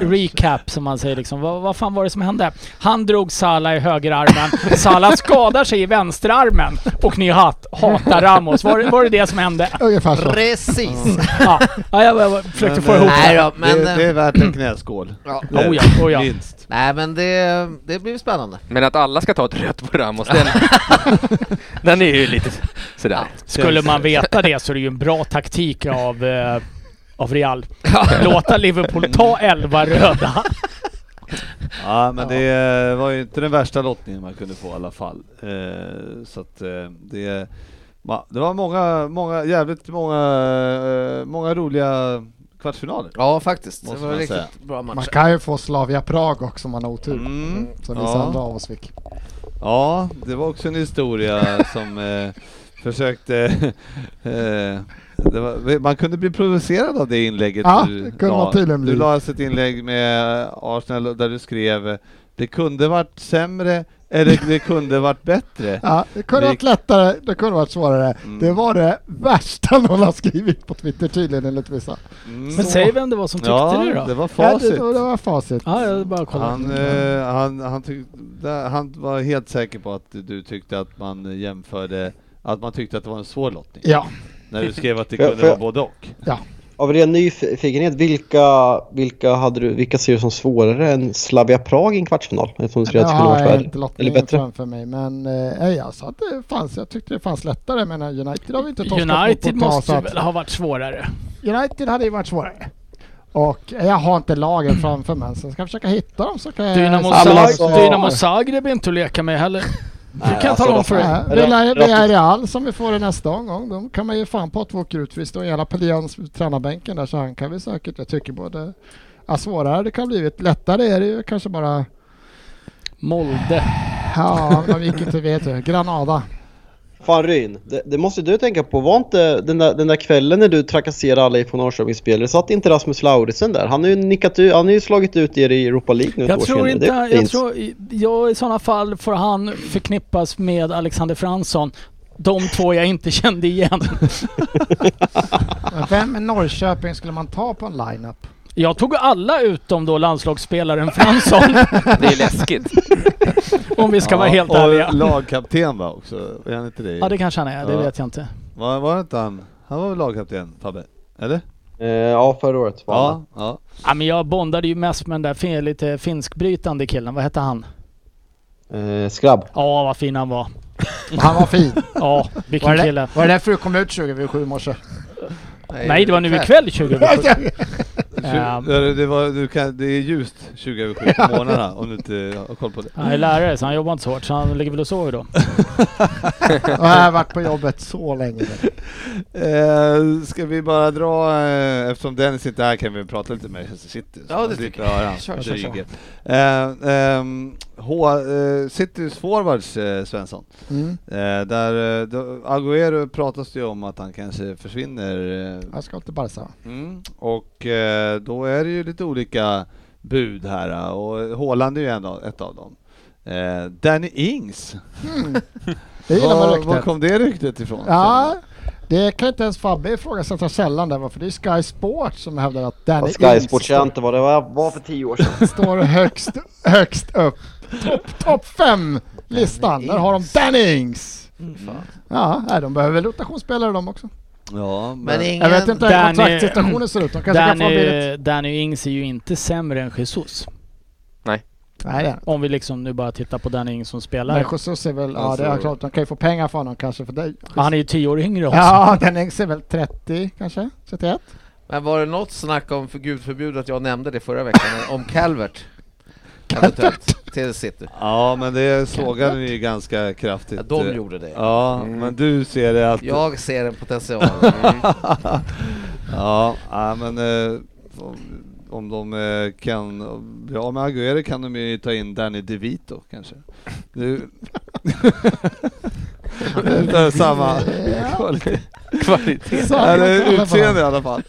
recap som man säger liksom. Vad, vad fan var det som hände? Han drog Salah i högerarmen. Salah skadar sig i vänsterarmen. Och ni hat, hatar Ramos. Var, det- var det det som hände? Ungefär så. Precis! Ja, ja jag, jag, jag försökte få Men, ihop eh, Nej det. då, men... det, det är värt en knäskål. Ja. Oh ja, oh ja. Minst. Nej men det, det blir spännande. Men att alla ska ta ett rött på Ramos, den, den är ju lite sådär. Skulle man veta det så är det ju en bra taktik av, eh, av Real. Låta Liverpool ta 11 röda. Ja men det eh, var ju inte den värsta lottningen man kunde få i alla fall. Eh, så att eh, det, ma, det var många, många, jävligt många, eh, många roliga kvartsfinaler. Ja faktiskt, Måste det var man en riktigt säga. bra Man match. kan ju få Slavia Prag också om man har otur. Mm. Som Ja. vissa andra av oss fick. Ja, det var också en historia som eh, försökte eh, Det var, man kunde bli provocerad av det inlägget Ja, du det kunde la. man tydligen Du bli. la alltså ett inlägg med eh, Arsenal där du skrev det kunde varit sämre eller det kunde varit bättre. Ja, det kunde varit lättare, det kunde varit svårare. Mm. Det var det värsta någon har skrivit på Twitter tydligen enligt vissa. Mm. Men säg vem det var som tyckte ja, det då. det var Ja, det, facit. det var facit. Ja, jag bara kollar. Han, eh, han, han, tyck, där, han var helt säker på att du tyckte att man eh, jämförde, att man tyckte att det var en svår lottning. Ja, När du skrev att det Ja, kunde för- vara både och. Av ren nyfikenhet, vilka, vilka, hade du, vilka ser du som svårare än Slavia Prag i en kvartsfinal? Eftersom du det tror att det skulle har varit jag värre. inte Eller lottningen bättre. framför mig. Men eh, jag sa att det fanns, jag tyckte det fanns lättare. Men eh, United har vi inte torskat United mot på ett tag, så måste att- väl ha varit svårare. United hade ju varit svårare. Och eh, jag har inte lagen framför mig, så jag ska försöka hitta dem så kan jag... Dynamo, men Zag- alltså- Dynamo Zagreb är inte att leka med heller. Nej, kan jag tala om för dig. Nej, Det är Villarreal som vi får i nästa omgång. De kan man ju fan på att åka ut för det står en jävla Pelians på tränarbänken där så han kan vi säkert, jag tycker både Ja, svårare det kan ha blivit. Lättare är det ju kanske bara... Molde. Ja, de gick inte vet du. Granada. Fan Ryn, det, det måste du tänka på. Var inte den där, den där kvällen när du trakasserade alla IFK Norrköping-spelare, satt inte Rasmus Lauritsen där? Han har ju nickat ut, han har ju slagit ut er i Europa League nu ett Jag år tror senare. inte... Det är Jag fint. tror, jag, I sådana fall får han förknippas med Alexander Fransson. De två jag inte kände igen. Men vem i Norrköping skulle man ta på en lineup? Jag tog alla utom då landslagsspelaren Fransson. Det är läskigt. om vi ska vara helt och ärliga. lagkapten var också, är han inte det? Ja det kanske han är, det Ja. vet jag inte. Var, var inte han? Han var väl lagkapten, Fabbe? Eller? Eh, ja, förra året var han. Ja, ja. Ja, men jag bondade ju mest med den där fin, lite finskbrytande killen, vad hette han? Eh, skrabb. Ja vad fin han var. Han var fin. Ja, Var vilken det, kille. var det därför du kom ut 20 vid sju i morse? Nej det var nu ikväll 20 Ehm. Tju- det, det, var, du kan, det är ljust 20 över 7 på morgnarna om du inte har koll på det. Han är lärare så han jobbar inte så hårt så han ligger väl och sover då. Jag har varit på jobbet så länge. Eh, ska vi bara dra, eh, eftersom Dennis inte är här kan vi prata lite med Manchester City. så Ja, man det slipper tycker jag. höra hans Kör, kör, kör. dryger. Eh, ehm, H, eh, Citys forwards eh, Svensson, Mm. eh, där eh, då- Agüero pratas det ju om att han kanske försvinner eh, Jag ska inte Barca. Mm. Och eh, då är det ju lite olika bud här eh, och Haaland är ju en av, ett av dem. Eh, Danny Ings, Det gillar man var, var ryktet. kom det ryktet ifrån? Ja, det kan inte ens Fabbe ifrågasätta sällan där för det är Sky Sport som hävdar att Danny Sky Ings Sports jag inte vad det var, var för tio år sedan. står högst, högst upp. Topp top fem listan, där har de Danny Ings. Mm. Ja, nej, de behöver väl rotationsspelare de också. Ja, men, Men Jag ingen... vet inte hur Danny- kontraktssituationen ser ut. De kanske kan få en billigt. Danny, Danny Ings är ju inte sämre än Jesus. Nej, det är- Om vi liksom nu bara tittar på Danny Ings som men spelare. Jesus är väl, ja Alltså- det är klart, de kan ju få pengar för honom kanske för dig. Han är ju tio år yngre också. Ja, Danny Ings är väl 30 kanske? 31? Men var det något snack om, för gud förbjude att jag nämnde det förra veckan, om Calvert? Eventuellt, till City. ja, men det sågade ni ju ganska kraftigt. Ja, de gjorde det. Ja, Mm. men du ser det att... Jag ser en potential. Mm. ja, ja, men eh, om, om de eh, kan... Ja, med Agüero kan de ju ta in Danny DeVito kanske. Du... det är samma kvalitet. Eller utseende i alla fall.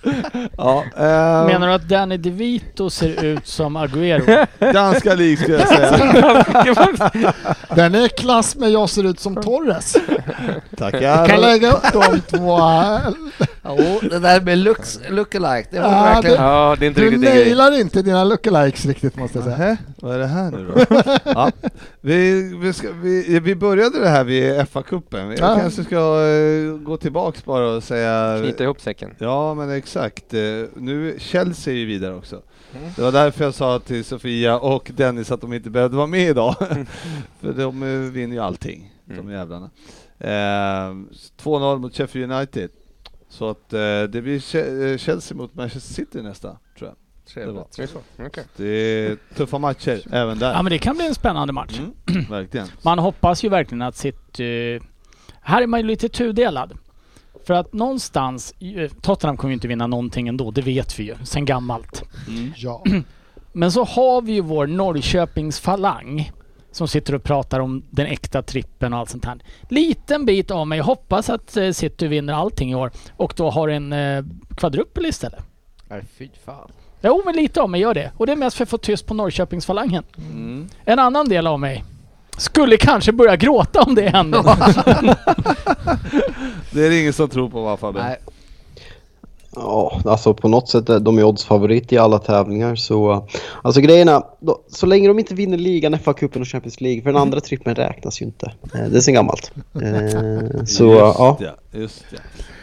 Ja, eh, Menar du att Danny DeVito ser ut som Agüero? Ganska lik skulle jag säga. Den är i klass med jag ser ut som Torres. Tackar. Kan lägga upp de två här. Jo, det där med looks, look-alike, det var Ja, verkligen... det- Ja, det är inte Du riktigt din grej. nailar inte dina lookalikes riktigt måste jag säga. Nähä, vad är det här nu då? ja, vi, vi, ska, vi, vi började det här vid FA-cupen, vi Ja. kanske ska eh, gå tillbaks bara och säga... Knyta ihop säcken. Ja men exakt, Eh, nu Chelsea är ju vidare också. Mm. Det var därför jag sa till Sofia och Dennis att de inte behövde vara med idag. För de eh, vinner ju allting, de Mm. jävlarna. Eh, 2-0 mot Sheffield United. Så att eh, det blir Che- eh, Chelsea mot Manchester City nästa, tror jag. Det var. Trevligt. Det är så. Okej. Det är tuffa matcher även Ja där. men det kan bli en spännande match. Mm, verkligen. Man hoppas ju verkligen att sitt... eh, här är man ju lite tudelad. För att någonstans... eh, Tottenham kommer ju inte vinna någonting ändå, det vet vi ju sen gammalt. Mm. Ja. Men så har vi ju vår Norrköpings falang som sitter och pratar om den äkta trippen och allt sånt här. Liten bit av mig hoppas att eh, City vinner allting i år och då har en eh, kvadrupel istället. Nej, fy fan. Jo, men lite av mig gör det. Och det är mest för att få tyst på Norrköpingsfalangen. En annan del av mig skulle kanske börja gråta om det händer. Det är det ingen som tror på va Fabbe? Nej. Ja, alltså på något sätt, är de är oddsfavorit i alla tävlingar så... Alltså grejerna, då, så länge de inte vinner ligan, FA-cupen och Champions League, för den andra trippen räknas ju inte. Eh, Det är sen gammalt. Eh, Så just ja. ja. Just ja.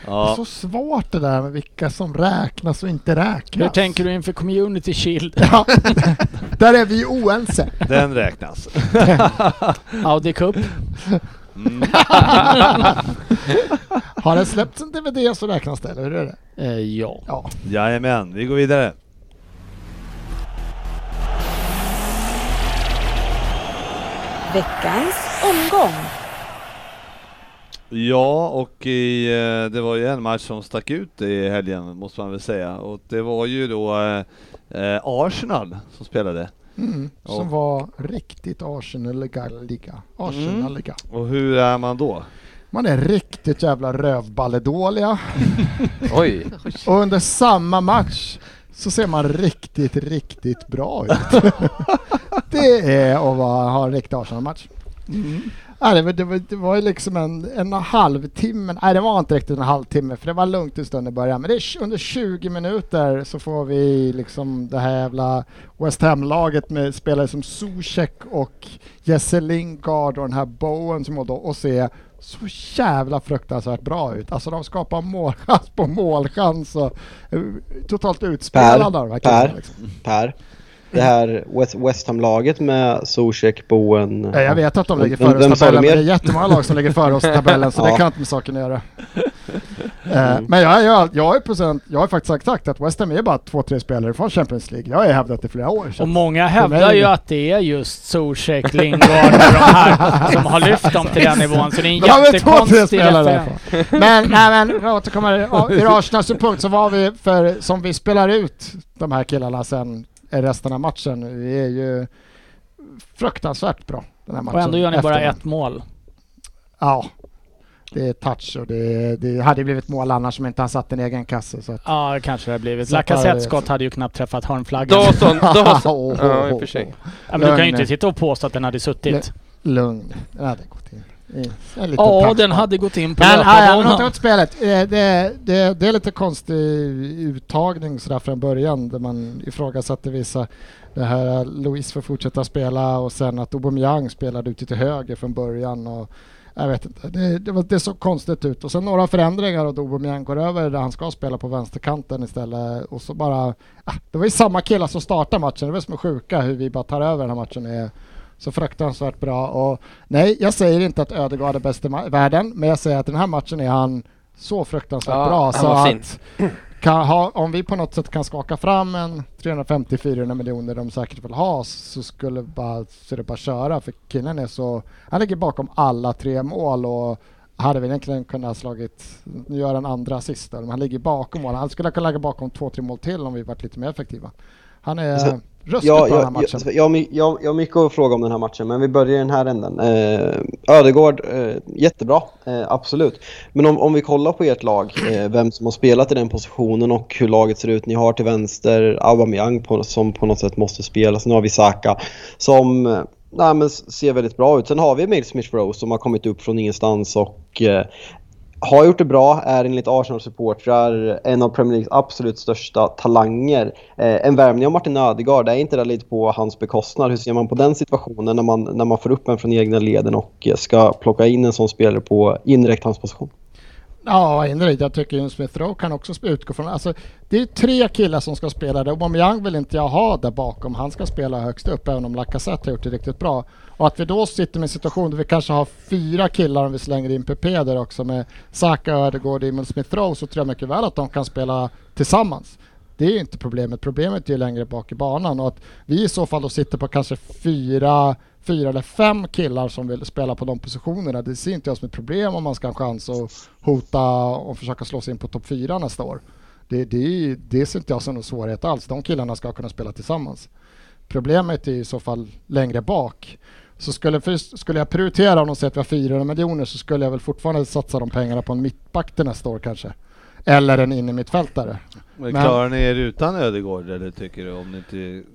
Det är ja. så svårt det där med vilka som räknas och inte räknas. Hur tänker du inför Community Shield? Ja, där är vi ju oense. Den räknas. Audi Cup? Har det släppts en DVD så räknas det, eller hur är det? Eh, ja. Ja. Jajamän, vi går vidare. Veckans omgång. Ja, och i, eh, det var ju en match som stack ut i helgen, måste man väl säga. Och det var ju då eh, eh, Arsenal som spelade. Mm. Som Ja. var riktigt Arsenal-liga. Arsenal-liga. Och hur är man då? Man är riktigt jävla rövballedåliga. Oj! Och under samma match så ser man riktigt, riktigt bra ut. det är att vara, ha en riktig Arsenal-match. Nej, det, var, det, var, det var ju liksom en, en halvtimme, nej det var inte riktigt en halvtimme för det var lugnt en stund i början men det är, tj- under 20 minuter så får vi liksom det här jävla West Ham-laget med spelare som Zuzek och Jesse Lingard och den här Bowen som var då och se så jävla fruktansvärt bra ut. Alltså de skapar målchans på målchans och eh, totalt utspelade av de här Per. killarna. Liksom. Per. Det här West, West Ham-laget med Zuzek, Bowen... Eh, Jag vet att de ligger Vem- före vem oss i sa du tabellen, men mer? det är jättemånga lag som ligger före oss i tabellen så det Ja. kan inte med saken att göra. Eh, Mm. Men jag, jag, jag, är procent, jag har faktiskt sagt att West Ham är bara två, tre spelare från Champions League. Jag har ju hävdat det i flera år. Och Så. många För hävdar mig- ju att det är just Zuzek, Lingard och de här som har lyft dem till den nivån. Så det är en De har väl två, tre jättekonstig spelare referens. därifrån. Men, nej, men för att återkomma ja, ur Arsenals synpunkt så var vi, för som vi spelar ut de här killarna sen i resten av matchen, vi är ju fruktansvärt bra den här matchen. Och ändå gör ni bara Efter- ett mål. Ja. Det är touch och det, det hade blivit mål annars om inte han satt en egen kasse. Så att, Ja, det kanske det har blivit. Så att- Lacazettes skott hade ju knappt träffat hörnflaggan. Dawson, Dawson! Åh, Ja, i och för sig. Ja, men du kan ju Lugn. inte sitta och påstå att den hade suttit. Lugn. Den hade gått in. I- En liten Ja, touch den bara. hade gått in på Men, ja, ja, men åter löparbanan. åt spelet. Eh, Det, det, det är lite konstig uttagning sådär från början där man ifrågasatte vissa. Det här Louis får fortsätta spela och sen att Aubameyang spelade ute till höger från början. Och jag vet inte, det, det, var, det såg konstigt ut. Och sen några förändringar och då Aubameyang går över där han ska spela på vänsterkanten istället. Och så bara, ah, det var ju samma killar som startade matchen. Det var som är sjuka hur vi bara tar över den här matchen. Är, så fruktansvärt bra. Och nej, jag säger inte att Ödegaard är bäst i ma- världen, men jag säger att i den här matchen är han så fruktansvärt Ja, bra. han Så var fin. att kan ha, om vi på något sätt kan skaka fram en 350-400 miljoner de säkert vill ha så skulle bara, så är det bara att köra för killen är så, han ligger bakom alla tre mål och hade väl egentligen kunnat ha slagit, nu gör han andra assist där, men han ligger bakom mål. Han skulle kunna lägga bakom två, tre mål till om vi varit lite mer effektiva. Han är Så- ruskigt bra Ja, i den här jag, matchen. jag, jag, har my- jag, jag har mycket att fråga om den här matchen, men vi börjar i den här änden. Eh, Ödegård, eh, jättebra, eh, absolut. Men om, om vi kollar på ert lag, eh, vem som har spelat i den positionen och hur laget ser ut. Ni har till vänster Aubameyang på, som på något sätt måste spela. Sen har vi Saka som eh, nej, men s- ser väldigt bra ut. Sen har vi Emil Smith-Rowe som har kommit upp från ingenstans och eh, har gjort det bra, är enligt Arsenal-supportrar en av Premier Leagues absolut största talanger. Eh, en värvning av Martin Ödegaard, är inte det lite på hans bekostnad? Hur ser man på den situationen när man, när man får upp en från egna leden och eh, ska plocka in en sån spelare på indirekt hans position? Ja, indirekt. Jag tycker ju Smith Rowe kan också sp- utgå från... Alltså, det är ju tre killar som ska spela där. Aubameyang vill inte jag ha där bakom. Han ska spela högst upp, även om Lacazette har gjort det riktigt bra. Och att vi då sitter med en situation där vi kanske har fyra killar om vi slänger in PP där också med Saka, Ödegaard, Emil Smith Rowe så tror jag mycket väl att de kan spela tillsammans. Det är ju inte problemet. Problemet är ju längre bak i banan och att vi i så fall då sitter på kanske fyra, fyra eller fem killar som vill spela på de positionerna. Det ser inte jag som ett problem om man ska ha en chans att hota och försöka slå sig in på topp fyra nästa år. Det, det, är ju- det ser inte jag som någon svårighet alls. De killarna ska kunna spela tillsammans. Problemet är i så fall längre bak. Så skulle, först, skulle jag prioritera om de säger att vi har 400 miljoner så skulle jag väl fortfarande satsa de pengarna på en mittback till nästa år kanske. Eller en innermittfältare. Men Men- klarar ni er utan Ödegård eller tycker du om ni inte...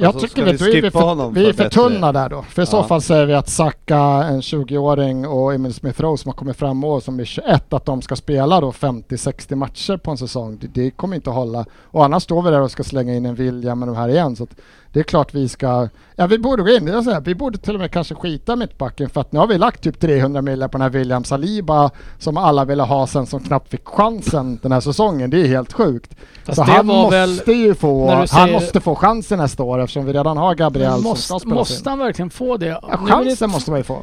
Jag Alltså, ska tycker vi, vi då är vi, skippa för, honom vi är för för bättre? tunna där då. För i så Ja. fall säger vi att Saka, en 20-åring och Emil Smith Rowe som har kommit fram och som är 21, att de ska spela då 50-60 matcher på en säsong. Det, det kommer inte att hålla. Och annars står vi där och ska slänga in en vilja med de här igen. Så att det är klart vi ska... Ja, vi borde gå in. Jag säger, vi borde till och med kanske skita mittbacken för att nu har vi lagt typ 300 miljoner på den här William Saliba som alla ville ha sen som knappt fick chansen den här säsongen. Det är helt sjukt. Fast så det han var måste väl- ju få... när du Han säger- måste få chansen nästa år eftersom vi redan har Gabriel Men som måste, ska spela måste in. han verkligen få det? Nu Ja, är chansen det- måste man ju få.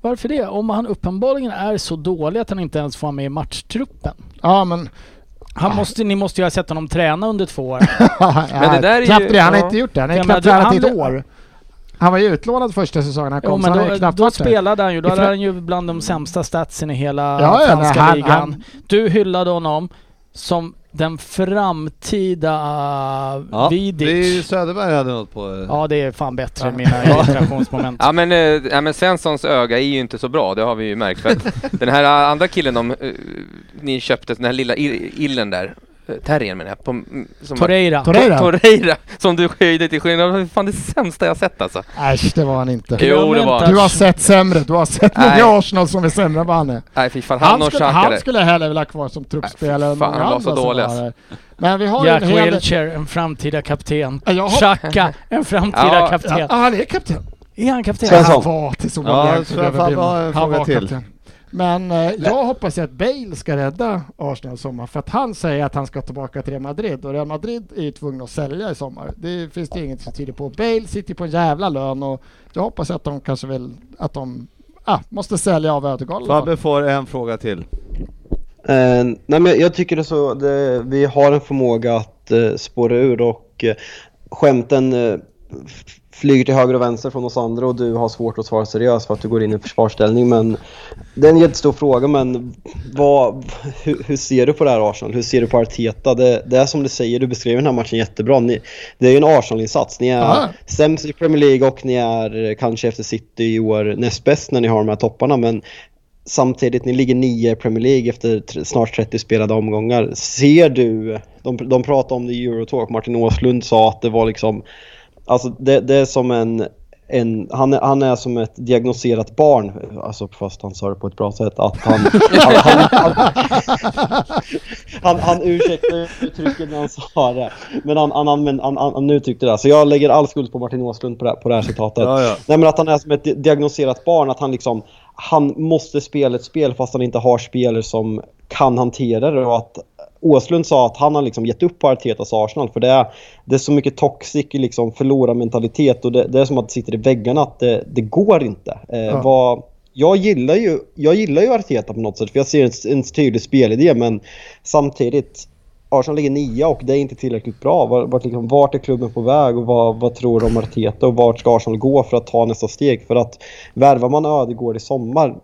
Varför det? Om han uppenbarligen är så dålig att han inte ens får vara med i matchtruppen. Ja men... Han måste, ni måste ju ha sett honom träna under två år. men det där är ju- knappt det, han har ja. inte gjort det. Han har Ja, ju men knappt du- tränat han- i ett år. Han var ju utlånad första säsongen han kom, Jo, så han har men ju då, knappt då varit där. spelade han ju. Då I hade Fra- han ju bland de sämsta statsen i hela Ja, ja, franska nej, han- ligan. han- Du hyllade honom som den framtida Ja, Vidic. det är Söderberg hade något på... eh, Ja, det är fan bättre än Ja. mina irritationsmoment. Ja men, eh, ja men Svenssons öga är ju inte så bra, det har vi ju märkt. För att den här andra killen de, eh, ni köpte, den här lilla i- illen där, eh, terriern menar jag. På, mm, som Torreira. Torreira? Torreira, som du höjde till skillnad. Det var fan det sämsta jag sett alltså. Äsch, det var han inte. Jo det var Du har sett sämre. Du har sett Nej. många Arsenal som är sämre än vad han är. Nej fy fan, han, Han och skulle, han Xhakare. skulle hellre vilja ha kvar som truppspelare än fan, många han var andra så som dålig, var alltså. där. Men vi har ju Jack en hel del... Wilshere, en framtida kapten. Ja, jag har- Xhaka, en framtida Ja. kapten. Ja, han är kapten. Är han kapten? Svensson. Han var till så många Ja, jävla Sven Faber överdrivna. har en Han fråga var till. kapten. Men eh, jag hoppas ju att Bale ska rädda Arsenal i sommar för att han säger att han ska tillbaka till Real Madrid och Real Madrid är ju tvungna att sälja i sommar. Det finns det ju inget som tyder på. Bale sitter på en jävla lön och jag hoppas att de kanske vill att de ah, måste sälja av Ödegaard. i alla fall. Fabbe får en fråga till. Eh, nej men jag, jag tycker det är så, det, vi har en förmåga att eh, spåra ur och eh, skämten eh, f- flyger till höger och vänster från oss andra och du har svårt att svara seriöst för att du går in i försvarsställning. Men det är en jättestor fråga men vad, hur, hur ser du på det här Arsenal? Hur ser du på Arteta? Det, det är som du säger, du beskriver den här matchen jättebra. Ni, det är ju en Arsenal-insats. Ni är Ja. sämst i Premier League och ni är eh, kanske efter City i år näst bäst när ni har de här topparna. Men Samtidigt, ni ligger nio i Premier League efter tr- snart 30 spelade omgångar. Ser du, de, de pratade om det i Eurotalk, Martin Åslund sa att det var liksom, alltså det, det är som en, en han, är, han är som ett diagnoserat barn, alltså fast han sa det på ett bra sätt, att han, han, han, han, han, han ursäktar uttrycket när han sa det. Men han, han, använde- han, han, han uttryckte det, här. så jag lägger all skuld på Martin Åslund på det, här- på det här citatet. Ja, ja. Nej men att han är som ett di- diagnoserat barn, att han liksom Han måste spela ett spel fast han inte har spelare som kan hantera det och att Åslund sa att han har liksom gett upp på Artetas Arsenal för det är, det är så mycket toxic liksom förlorarmentalitet och det, det är som att det sitter i väggarna att det, det går inte. Eh, vad, jag gillar ju, jag gillar ju Arteta på något sätt för jag ser en, en tydlig spelidé men samtidigt Arsenal ligger nia och det är inte tillräckligt bra. Vart, vart, liksom, vart är klubben på väg och vad, vad tror de om Arteta och vart ska Arsenal gå för att ta nästa steg? För att värvar man Ödegård i sommar,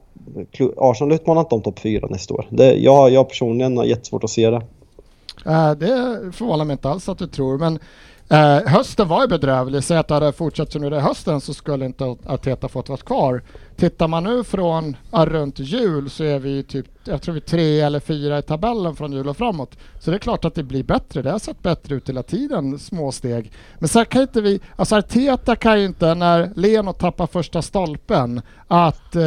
klu- Arsenal utmanar inte om topp fyra nästa år. Det, jag, jag personligen har jättesvårt att se det. Eh, det förvånar mig inte alls att du tror, men eh, hösten var ju bedrövlig. Säg att det hade fortsatt som nu under hösten så skulle inte Arteta fått vara kvar. Tittar man nu från ja, runt jul så är vi ju typ, jag tror vi är tre eller fyra i tabellen från jul och framåt. Så det är klart att det blir bättre. Det har sett bättre ut hela tiden, små steg. Men sen kan inte vi, alltså Arteta kan ju inte när Leno tappar första stolpen att eh,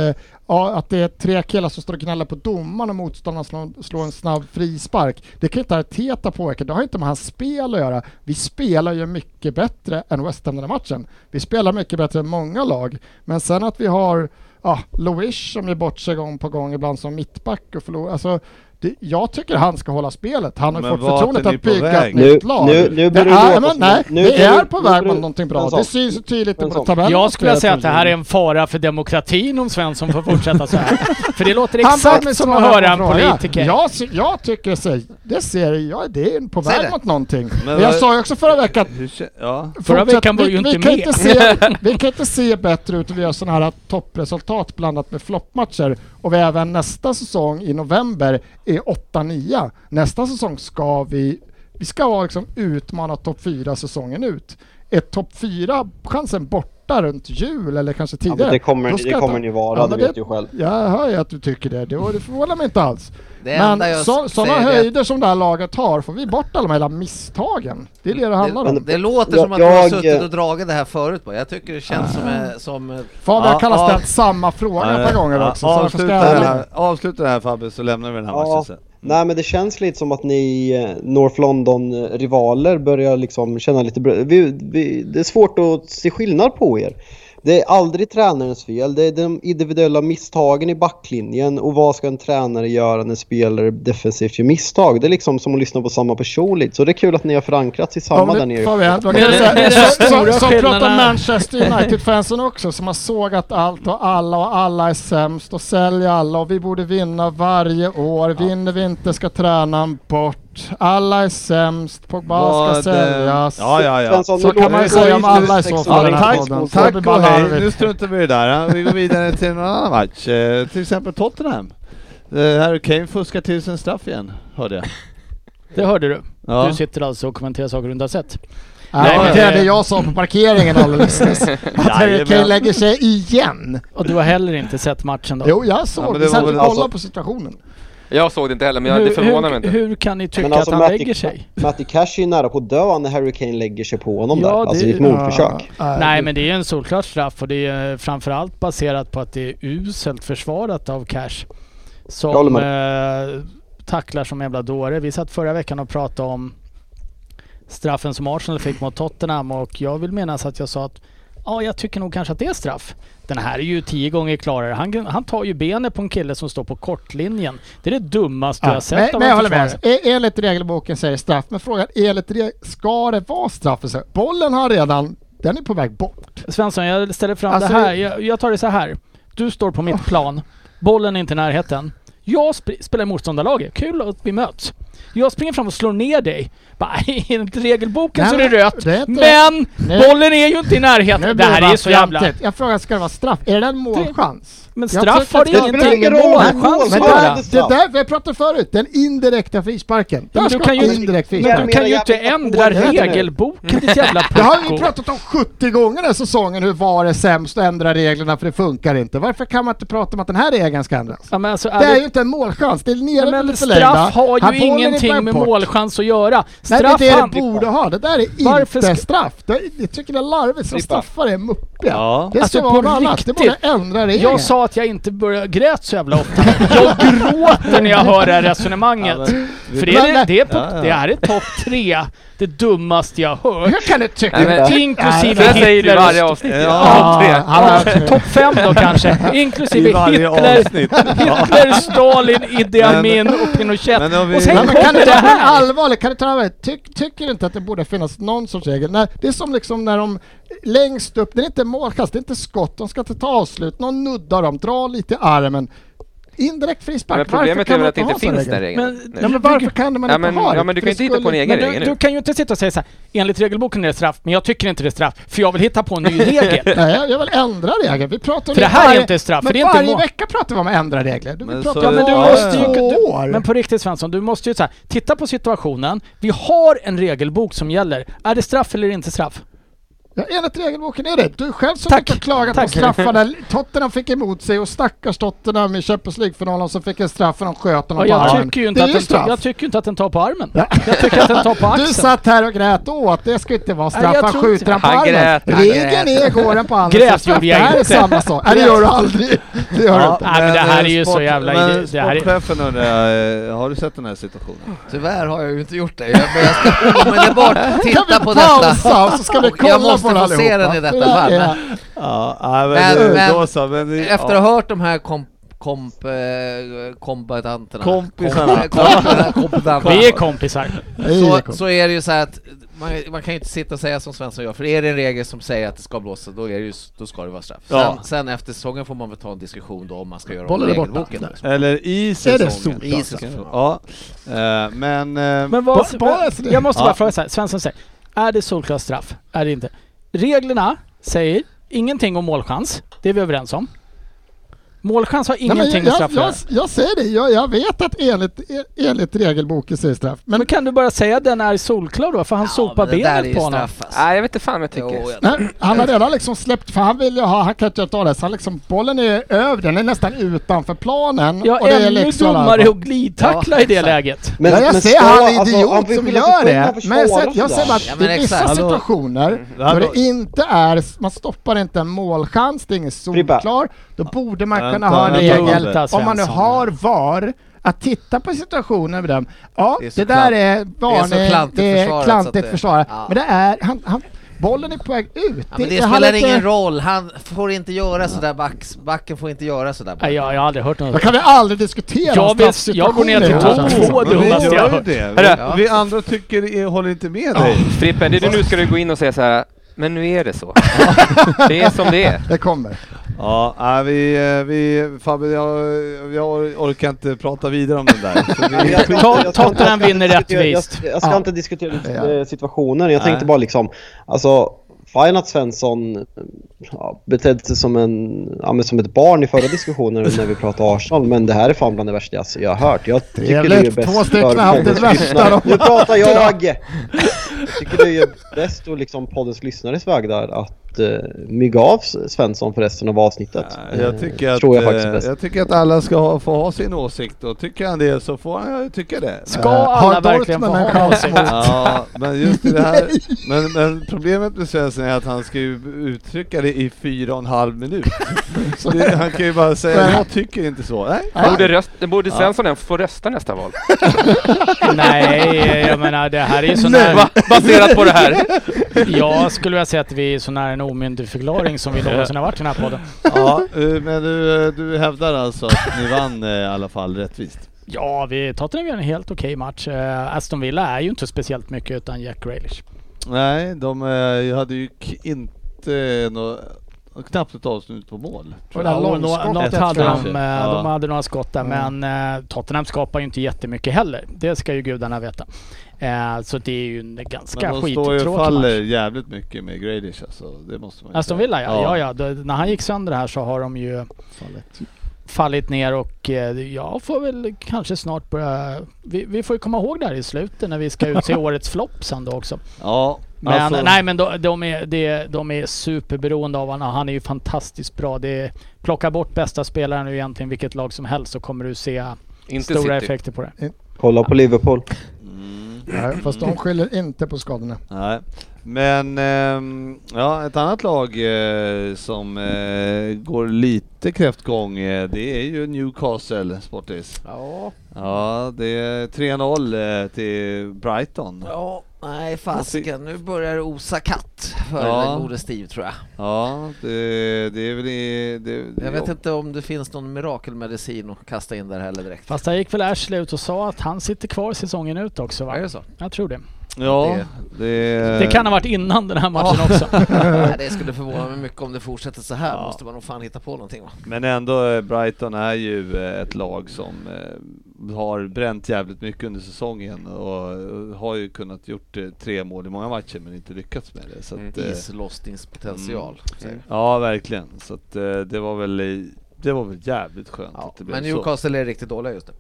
Ja, att det är tre killar som står och gnäller på domaren och motståndaren slår, slår en snabb frispark. Det kan inte Arteta påverka. Det har inte med hans spel att göra. Vi spelar ju mycket bättre än West Ham den här matchen. Vi spelar mycket bättre än många lag. Men sen att vi har ja, Loish som är bort sig gång på gång ibland som mittback och förlorar. Alltså, det, jag tycker han ska hålla spelet. Han har Men fått vart förtroendet är ni att på bygga väg? ett nytt Nu- lag. nu- nu det börjar det är, låta men, som- nej, nu- det nu- är på nu väg börjar- mot någonting bra. Svensson. Det syns ju tydligt i Svensson. tabellen. Jag skulle vilja säga att det här är en fara för demokratin om Svensson får fortsätta så här. För det låter Han bad mig exakt som att svara på höra en fråga. politiker. Jag, se- jag tycker så, det ser jag, det är på Säg väg det. mot någonting. Men vad- jag sa ju också förra veckan att Hur kä- ja. Förra fortsätt- veckan var vi- ju inte vi kan med. Inte se, vi kan inte se bättre ut och vi gör sådana här toppresultat blandat med floppmatcher och vi även nästa säsong i november är 8-9. Nästa säsong ska vi, vi ska vara liksom utmana topp 4 säsongen ut. Är topp 4 chansen borta borta runt jul eller kanske Ja, men tidigare. det kommer, Då ska det jag kommer ta- ni vara, Ja, det men vet du själv. Jag hör ju att du tycker det, det, och det förvånar mig inte alls. Det enda Men jag så, sådana säger är att- höjder som det här laget har, får vi bort alla de här misstagen? Det är det det handlar om. Det, det låter som att Jag- du har jag- suttit och dragit det här förut bara. Jag tycker det känns som, Ah. eh, som... eh, Fabian Ja, har kallat ja. ställt samma fråga ett par gånger också, så varför ska avsluta, det jag... här, avsluta det här Fabbe så lämnar vi den här Ja. matchen sen. Nej men det känns lite som att ni eh, North London-rivaler börjar liksom känna lite... br- Vi, vi, det är svårt att se skillnad på er. Det är aldrig tränarens fel, det är de individuella misstagen i backlinjen och vad ska en tränare göra när spelare defensivt gör misstag? Det är liksom som att lyssna på samma person lite, så det är kul att ni har förankrats i samma där Ja, men nere. Fabian, då kan Det är jag det- säga, det är så, de stora så, så pratar skillnaderna. Manchester United-fansen också som har sågat allt och alla och alla är sämst och säljer alla och vi borde vinna varje år. Vinner vi inte ska tränaren bort. Alla är sämst, Pogba ska Vad, eh, säljas. Ja, ja, ja. Svensson, Så nu kan man ju låter det säga som om att ni alla i sex så år fall. gamla Tack, fotboll. tack. Tack och hej, Ballarvik. nu struntar vi i det där. Vi går vidare till någon annan match, eh, till exempel Tottenham. Eh, Här Kane fuskar till sin straff igen, hörde jag. Det hörde du. Ja. Du sitter alltså och kommenterar saker du inte har sett. Nej, men det är det- det jag sa på parkeringen alldeles nyss. Att Harry Kane Jajamän. lägger sig igen. Och du har heller inte sett matchen då? Jo, jag Ja, såg men det. det var Sen väl kolla alltså- på situationen. Jag såg det inte heller, men jag, hur, det förvånar mig hur, inte. hur kan ni tycka alltså, att han Matty- lägger sig? Matty Cash är ju nära på att dö när Harry Kane lägger sig på honom Ja, där. Alltså det- i ett mordförsök. Ja, Nej men det är ju en solklar straff och det är eh, framförallt baserat på att det är uselt försvarat av Cash. Jag håller Som eh, tacklar som en jävla dåre. Vi satt förra veckan och pratade om straffen som Arsenal fick mot Tottenham och jag vill minnas att jag sa att ja, jag tycker nog kanske att det är straff. Den här är ju tio gånger klarare. Han, han tar ju benet på en kille som står på kortlinjen. Det är det dummaste jag har sett men, av men en jag håller med. försvarare. E- Enligt regelboken säger straff, men frågan är enligt reg- ska det vara straff? Så Bollen har redan, den är på väg bort. Svensson, jag ställer fram Alltså- det här. Jag, jag tar det så här. Du står på mitt plan. Bollen är inte i närheten. Jag sp spelar i motståndarlaget. Kul att vi möts. Jag springer fram och slår ner dig. Bara, enligt regelboken Nej, så är det men- rött. det är inte- Men Nu- bollen är ju inte i närheten. Det blir här är bara ju så jävla... fjantigt. Jag frågar, ska det vara straff? Är det en målchans? Men Jag straff tycker har att- det Det spelar ingenting med ingen roll. målchans Men att Mål, det, göra. mål. där- det där vi pratade förut, den indirekta frisparken. Ja, Där men du ska kan vara ju- indirekt frispark. Men du kan ju inte ändra regelboken ditt jävla Det har pucko. vi pratat om 70 gånger den här säsongen hur VAR är sämst och ändra reglerna för det funkar inte. Varför kan man inte prata om att den här regeln ska ändras? Ja, men alltså, Det är ärligt- ju inte en målchans, det är nere men med det förlängda. straff har Här ju bollen är på ingenting väg med bort. målchans att göra. Nej Straff det är det handlar- det borde ha, det där är Varför ska- inte straff. Det, jag tycker det är larvigt som Klippa. straffar är muppiga. Ja. Det ska Alltså, vara på något annat, det borde riktigt. ändra regeln. Jag sa att jag inte började grät så jävla ofta. Jag gråter när jag hör det här resonemanget. För det Men- är, det, är på, Ja, ja. det här är topp tre, det dummaste jag hört. Hur kan du tycka Nej, men- Inklusive Så jag säger det i Hitler. varje avsnitt. Ja, tre. alla- Topp fem då kanske. Inklusive i varje Hitler, avsnitt. Hitler, Stalin, Idi Amin och Pinochet. Men om vi- Och Nej, sen men kan kommer du det ta det här. allvarligt? Kan du ta det här? Tyck, tycker du inte att det borde finnas någon sorts regel? Nej, det är som liksom när de längst upp, det är inte målkast, det är inte skott, de ska inte ta avslut, någon nuddar dem, dra lite i armen. Indirekt frispark, Men problemet varför är kan väl man att det inte inte ha en finns sån den regel? regeln. Men- nu. Ja, men varför kan man Ja, inte men- ha det? ja, men du kan För det inte hitta på en skulle- egen- Men du, regel. du kan ju inte sitta och säga så här, enligt regelboken är det straff, men jag tycker inte det är straff, för jag vill hitta på en ny regel. Nej, jag- jag vill ändra regeln. Vi pratar om För det här är varje- inte straff, för Men det är inte varje mål. vecka pratar vi om att ändra regler. Du, Men vi pratar så- om men du VAR i måste ju- två år. Men på riktigt Svensson, du måste ju så här, titta på situationen. Vi har en regelbok som gäller. Är det straff eller inte straff? Ja, enligt regelboken är det. Du själv som Tack. fick klagat på Tack. straffarna. Tottenham fick emot sig och stackars Tottenham i Champions League-finalen som fick en straff för de sköt honom Ja, på jag, armen. tycker ju Det inte är ju att den, straff. jag tycker ju inte att den tar på armen. Jag tycker att den tar på Du axeln. satt här och grät åt att det ska inte vara straff. Nej, jag han tror skjuter inte- han på Han armen. grät, han Regeln grät. är går den på armen. Grät så är straff. gjorde jag Det här är inte. samma sak. Nej, det gör du aldrig. Det gör du Ja, inte. Nej, men det här eh, är ju så sport- jävla- Men det här är- sportchefen undrar, eh, har du sett den här situationen? Tyvärr har jag ju inte gjort det. Jag, men jag ska omedelbart Kan vi titta på detta. pausa och så ska vi Och jag kolla måste på den få se allihopa. den i detta fall. Det är- Ja, nej, men, Men- men, men- då så, men det- Efter ja. att ha hört de här komp... Komp, eh, kombatanterna. Kompisarna. Komp, kompisarna, kompisarna. Vi är kompisar. det är- så, så är det ju så här att man, man kan ju inte sitta och säga som Svensson gör, för är det en regel som säger att det ska blåsa, då, är det ju, då ska det vara straff. Sen, Ja. sen efter säsongen får man väl ta en diskussion då om man ska göra om Bollen är borta. regelboken. Eller i säsongen. solklart? I säsongen. Ja, eh, men... eh, Men Ba- vad, bara så det- jag måste Ja. bara fråga så här. Svensson säger, är det solklart straff? Är det inte? Reglerna säger ingenting om målchans. Det är vi överens om. Målchans har Nej, men ingenting med jag, straff jag, jag, jag, jag säger det, jag, jag vet att enligt, enligt regelboken så är det straff. Men, Men kan du bara säga att den är solklar då? För han sopar benet på honom. Nej, jag vet inte fan vad jag tycker. alltså. Jo, jag- Nej, han har redan liksom släppt, för han vill ju ha, han kan inte ta det, så han liksom, bollen är över, den är nästan utanför planen. Jag och det är är ännu liksom- dummare att glidtackla i det läget. Men, ja, jag men ser stå- han är alltså, idiot han får som skilja gör sig från det. att Men jag försvara säger, jag sådär. säger bara att Ja, men i vissa exakt. Hallå. Mm. situationer Det här då var- det inte är, man stoppar inte en målchans, det är ingen Frippa. solklar, då borde man kunna Vänta, ha en vänta, regel, vänta, om man nu Svensson. har VAR, att titta på situationen med den. Ja, Det är det, så där klant- är varning, det är klantigt klantigt, det försvarat så är att klantigt försvarat. det- Ja. Men det är, han, han, bollen är på väg ut. Ja, men det han spelar är ingen inte- roll, han får inte göra sådär, backs, backen får inte göra sådär. Nej, jag, jag har aldrig hört Då något. kan vi aldrig diskutera Jag vill- om straffsituationer jag går ner till i det här topp fallet. två. Vad Men vi dummaste jag har gör ju hört. det. Hörru. Vi, vi andra tycker, är- håller inte med dig. Frippe, det är nu ska du gå in och säga så här. Men nu är det så. det är som det är. Det kommer. Ja, nej, vi, eh, vi, Fabbe, jag, jag orkar inte prata vidare om den där. Så vi, Jag ska- Ta- jag ska- Tottenham jag ska vinner inte rättvist. diskutera- Jag, jag ska Ja. inte diskutera Ja. eh, situationen. Jag Nej. tänkte bara liksom, alltså, fine att Svensson eh, ja, betedde sig som, en, ja, men som ett barn i förra diskussionen när vi pratade Arsenal, men det här är fan bland det värsta jag, jag har hört. Jag tycker det är Trevligt. ju bäst Två stycken för har haft det poddens värsta lyssnare. de- Nu pratar jag! tycker det är ju bäst och liksom poddens lyssnares väg där att uh, mygga av Svensson för resten av avsnittet. Nej, jag, Eh, tycker att, tror jag faktiskt är eh, bäst. jag tycker att alla ska ha, få ha sin åsikt och tycker han det så får han ju tycka det. Ska Eh, alla har verkligen få Dortmund en ha chans åsikt? mot- Ja, men just i det här. Men, men problemet med Svensson är att han ska ju uttrycka det i fyra och en halv minut. Det, han kan ju bara säga, jag tycker inte så. Nej, Borde, röst, borde Svensson än få rösta nästa val? Nej, jag menar det här är ju så Nej, nära... va? Baserat på det här. Jag skulle vilja säga att vi är så nära en omyndigförklaring som vi någonsin har varit i den här podden. Ja, eh, men du, eh, du hävdar alltså att ni vann eh, i alla fall rättvist? Ja, vi Tottenham gör en helt okej match. Eh, Aston Villa är ju inte speciellt mycket utan Jack Grealish. Nej, de eh, hade ju k- inte nå, knappt ett avslut på mål. Och det där Ja, och nå- långskottet Mm. något hade fram. de, eh, Ja. de hade några skott där men eh, Tottenham skapar ju inte jättemycket heller. Det ska ju gudarna veta. Eh, Så det är ju en ganska Men de står ju skittråkig och match. faller jävligt mycket med Gradish alltså, det måste man ju Aston säga. Villa ja, ja, ja. Det- När han gick sönder här så har de ju fallit ner och eh, jag får väl kanske snart börja... Vi, vi får ju komma ihåg det här i slutet när vi ska utse årets flopp sen då också. Ja, Men alltså- nej men de, de, är, de, de är superberoende av honom. Han är ju fantastiskt bra. Det är, plocka bort bästa spelaren ur egentligen vilket lag som helst så kommer du se Inte stora City. effekter på det. Kolla på Liverpool. mm. Nej, fast de skyller inte på skadorna. Nej. Men ehm, ja, ett annat lag eh, som eh, går lite kräftgång eh, det är ju Newcastle Sportis. Ja, Ja, det är 3-0 eh, till Brighton. ja, nej fasken, nu börjar det osa katt för Ja. den gode Steve tror jag. Ja, det, det är väl i, det, Jag vet inte om det finns någon mirakelmedicin att kasta in där heller direkt. Fast där gick väl Ashley ut och sa att han sitter kvar säsongen ut också va? Är det så? Jag tror det. Ja, det, Det kan ha varit innan den här matchen också. Nej, det skulle förvåna mig mycket om det fortsätter så här. Ja. Måste man nog fan hitta på någonting va? Men ändå, eh, Brighton är ju eh, ett lag som eh, har bränt jävligt mycket under säsongen och eh, har ju kunnat gjort eh, tre mål i många matcher men inte lyckats med det. Så Mm. att, eh, Islossningspotential. säger vi. Ja, verkligen. Så att, eh, det var väl i- det var väl jävligt skönt Ja, att det blev men så. Newcastle Typ är riktigt dåliga just nu.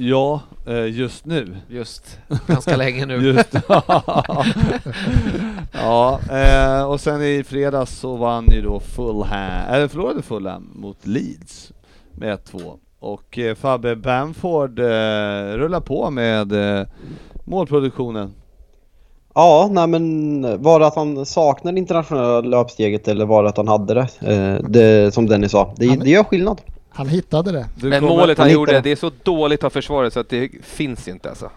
Ja, eh, just nu. Just ganska länge nu. Just Ja, eh, och sen i fredags så vann ju då Fulham, eller förlorade Fulham mot Leeds med 1-2. Och eh, Fabbe Bamford eh, rullar på med eh, målproduktionen. Ja, nej men var det att han saknade det internationella löpsteget eller var det att han hade det? Eh, det som Dennis sa, det, det gör skillnad. Han hittade det. Du Men kommer- målet han han gjorde, hittar. det är så dåligt av försvaret så att det finns inte alltså.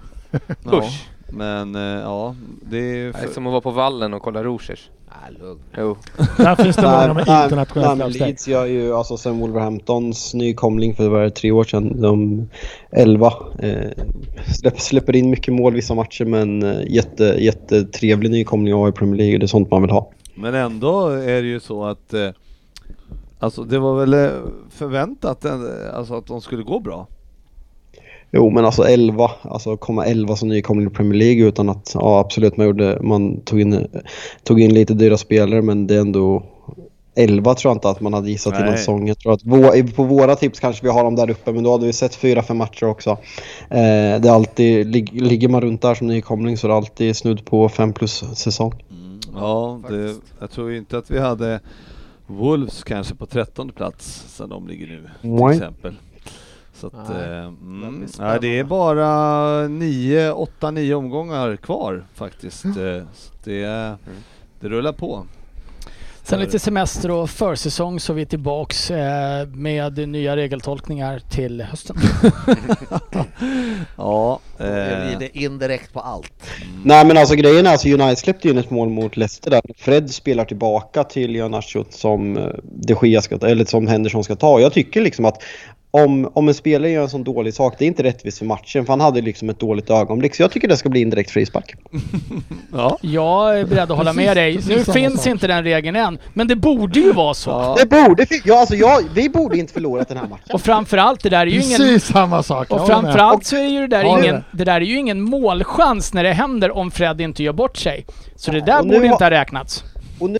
Ja, Usch. Men eh, ja, det är... Det är För... som att vara på vallen och kolla Rogers. Ah, lugn. Jo. Där finns det många med nej, internationellt men löpsteg. Leeds gör ju, alltså sen Wolverhamptons nykomling för var det, tre år sedan, de 11, eh, släpp, släpper in mycket mål vissa matcher men eh, jätte, jättetrevlig nykomling att ha i Premier League och det är sånt man vill ha. Men ändå är det ju så att eh, Alltså det var väl eh, förväntat eh, alltså att de skulle gå bra. Jo, men alltså 11, alltså komma 11 som nykomling i Premier League utan att, ja absolut man gjorde, man tog in, tog in lite dyra spelare men det är ändå 11 tror jag inte att man hade gissat Nej. innan säsongen. Jag tror att vå- på våra tips kanske vi har dem där uppe, men då hade vi sett fyra, fem matcher också. Eh, det är alltid, lig- ligger man runt där som nykomling så är det alltid snudd på 5 plus säsong. Mm, Ja, det, jag tror inte att vi hade Wolves kanske på trettonde plats sen de ligger nu till Nej. exempel. Så att, Nej, eh, det mm, blir nej, det är spännande. bara nio, åtta, nio omgångar kvar faktiskt. eh, Så det, det rullar Mm. på. Sen lite semester och försäsong så är vi tillbaks eh, med nya regeltolkningar till hösten. Ja, Jag eh, glider indirekt på allt. Nej men alltså grejen är alltså United släppte ju in ett mål mot Leicester där. Fred spelar tillbaka till Janacho som eh, de Gea ska, eller som Henderson ska ta. Jag tycker liksom att om, om en spelare gör en sån dålig sak, det är inte rättvist för matchen för han hade liksom ett dåligt ögonblick. Så jag tycker det ska bli indirekt frispark. ja. Jag är beredd att hålla Precis- med dig. precis Nu samma finns sak. inte den regeln än, men det borde ju vara så. Ja. Det borde, ja, alltså jag, vi borde inte förlorat den här matchen. Och framförallt, det där är ju Precis ingen... samma sak. jag Och håller med. framförallt så är ju det där, Ja, det är ingen, det. det där är ju ingen målchans när det händer om Fred inte gör bort sig. Så det där och nu borde har- inte ha räknats. Och nu,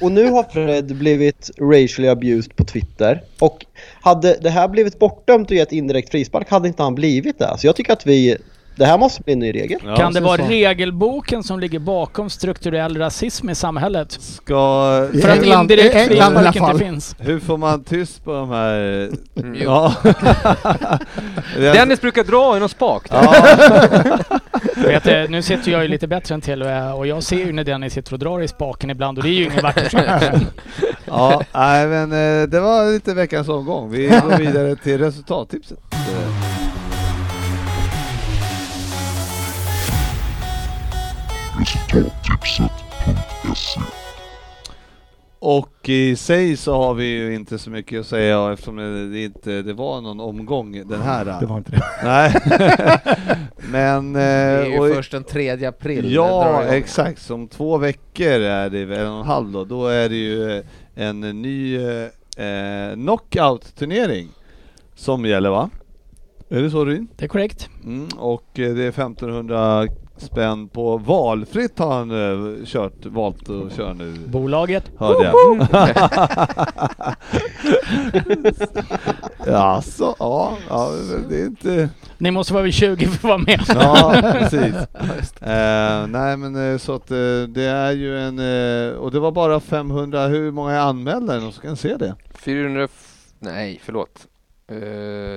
och nu har Fred blivit racially abused på Twitter. Och hade det här blivit bortdömt och gett indirekt frispark hade inte han blivit det. Så jag tycker att vi... Det här måste bli en ny regel. Ja. kan det precis vara så. regelboken som ligger bakom strukturell rasism i samhället? Ska, I För att England- i indirekt England i alla frispark inte fall. finns. hur får man tyst på de här... Mm. Ja. Dennis brukar dra i någon spak. Vet, du, nu sitter jag ju lite bättre än till och jag- och jag ser ju när Dennis sitter och drar i spaken ibland och det är ju ingen vacker sak. Ja, nej men eh, det var lite veckans omgång. Vi går vidare till resultattipset. Och i sig så har vi ju inte så mycket att säga eftersom det det inte det var någon omgång den här. Det var inte det. Nej. Men... eh, Det är ju och- först den 3 april. det Ja, drar igång. exakt. Om två veckor är det, eller en och en halv då, då är det ju eh, en ny eh, eh, knockout-turnering som gäller va? Är det så Ryn? Det är korrekt. Mm, och eh, det är 1500 spänn på valfritt har han eh, kört, valt att köra nu. Bolaget. Hörde jag. ja, så, ja, ja, det är inte... Ni måste vara vid 20 för att vara med. Ja, precis. Eh, nej men eh, så att eh, det är ju en, eh, och det var bara 500, hur många är anmälda? Är det någon som kan se det? 400... f- Nej, förlåt. Eh,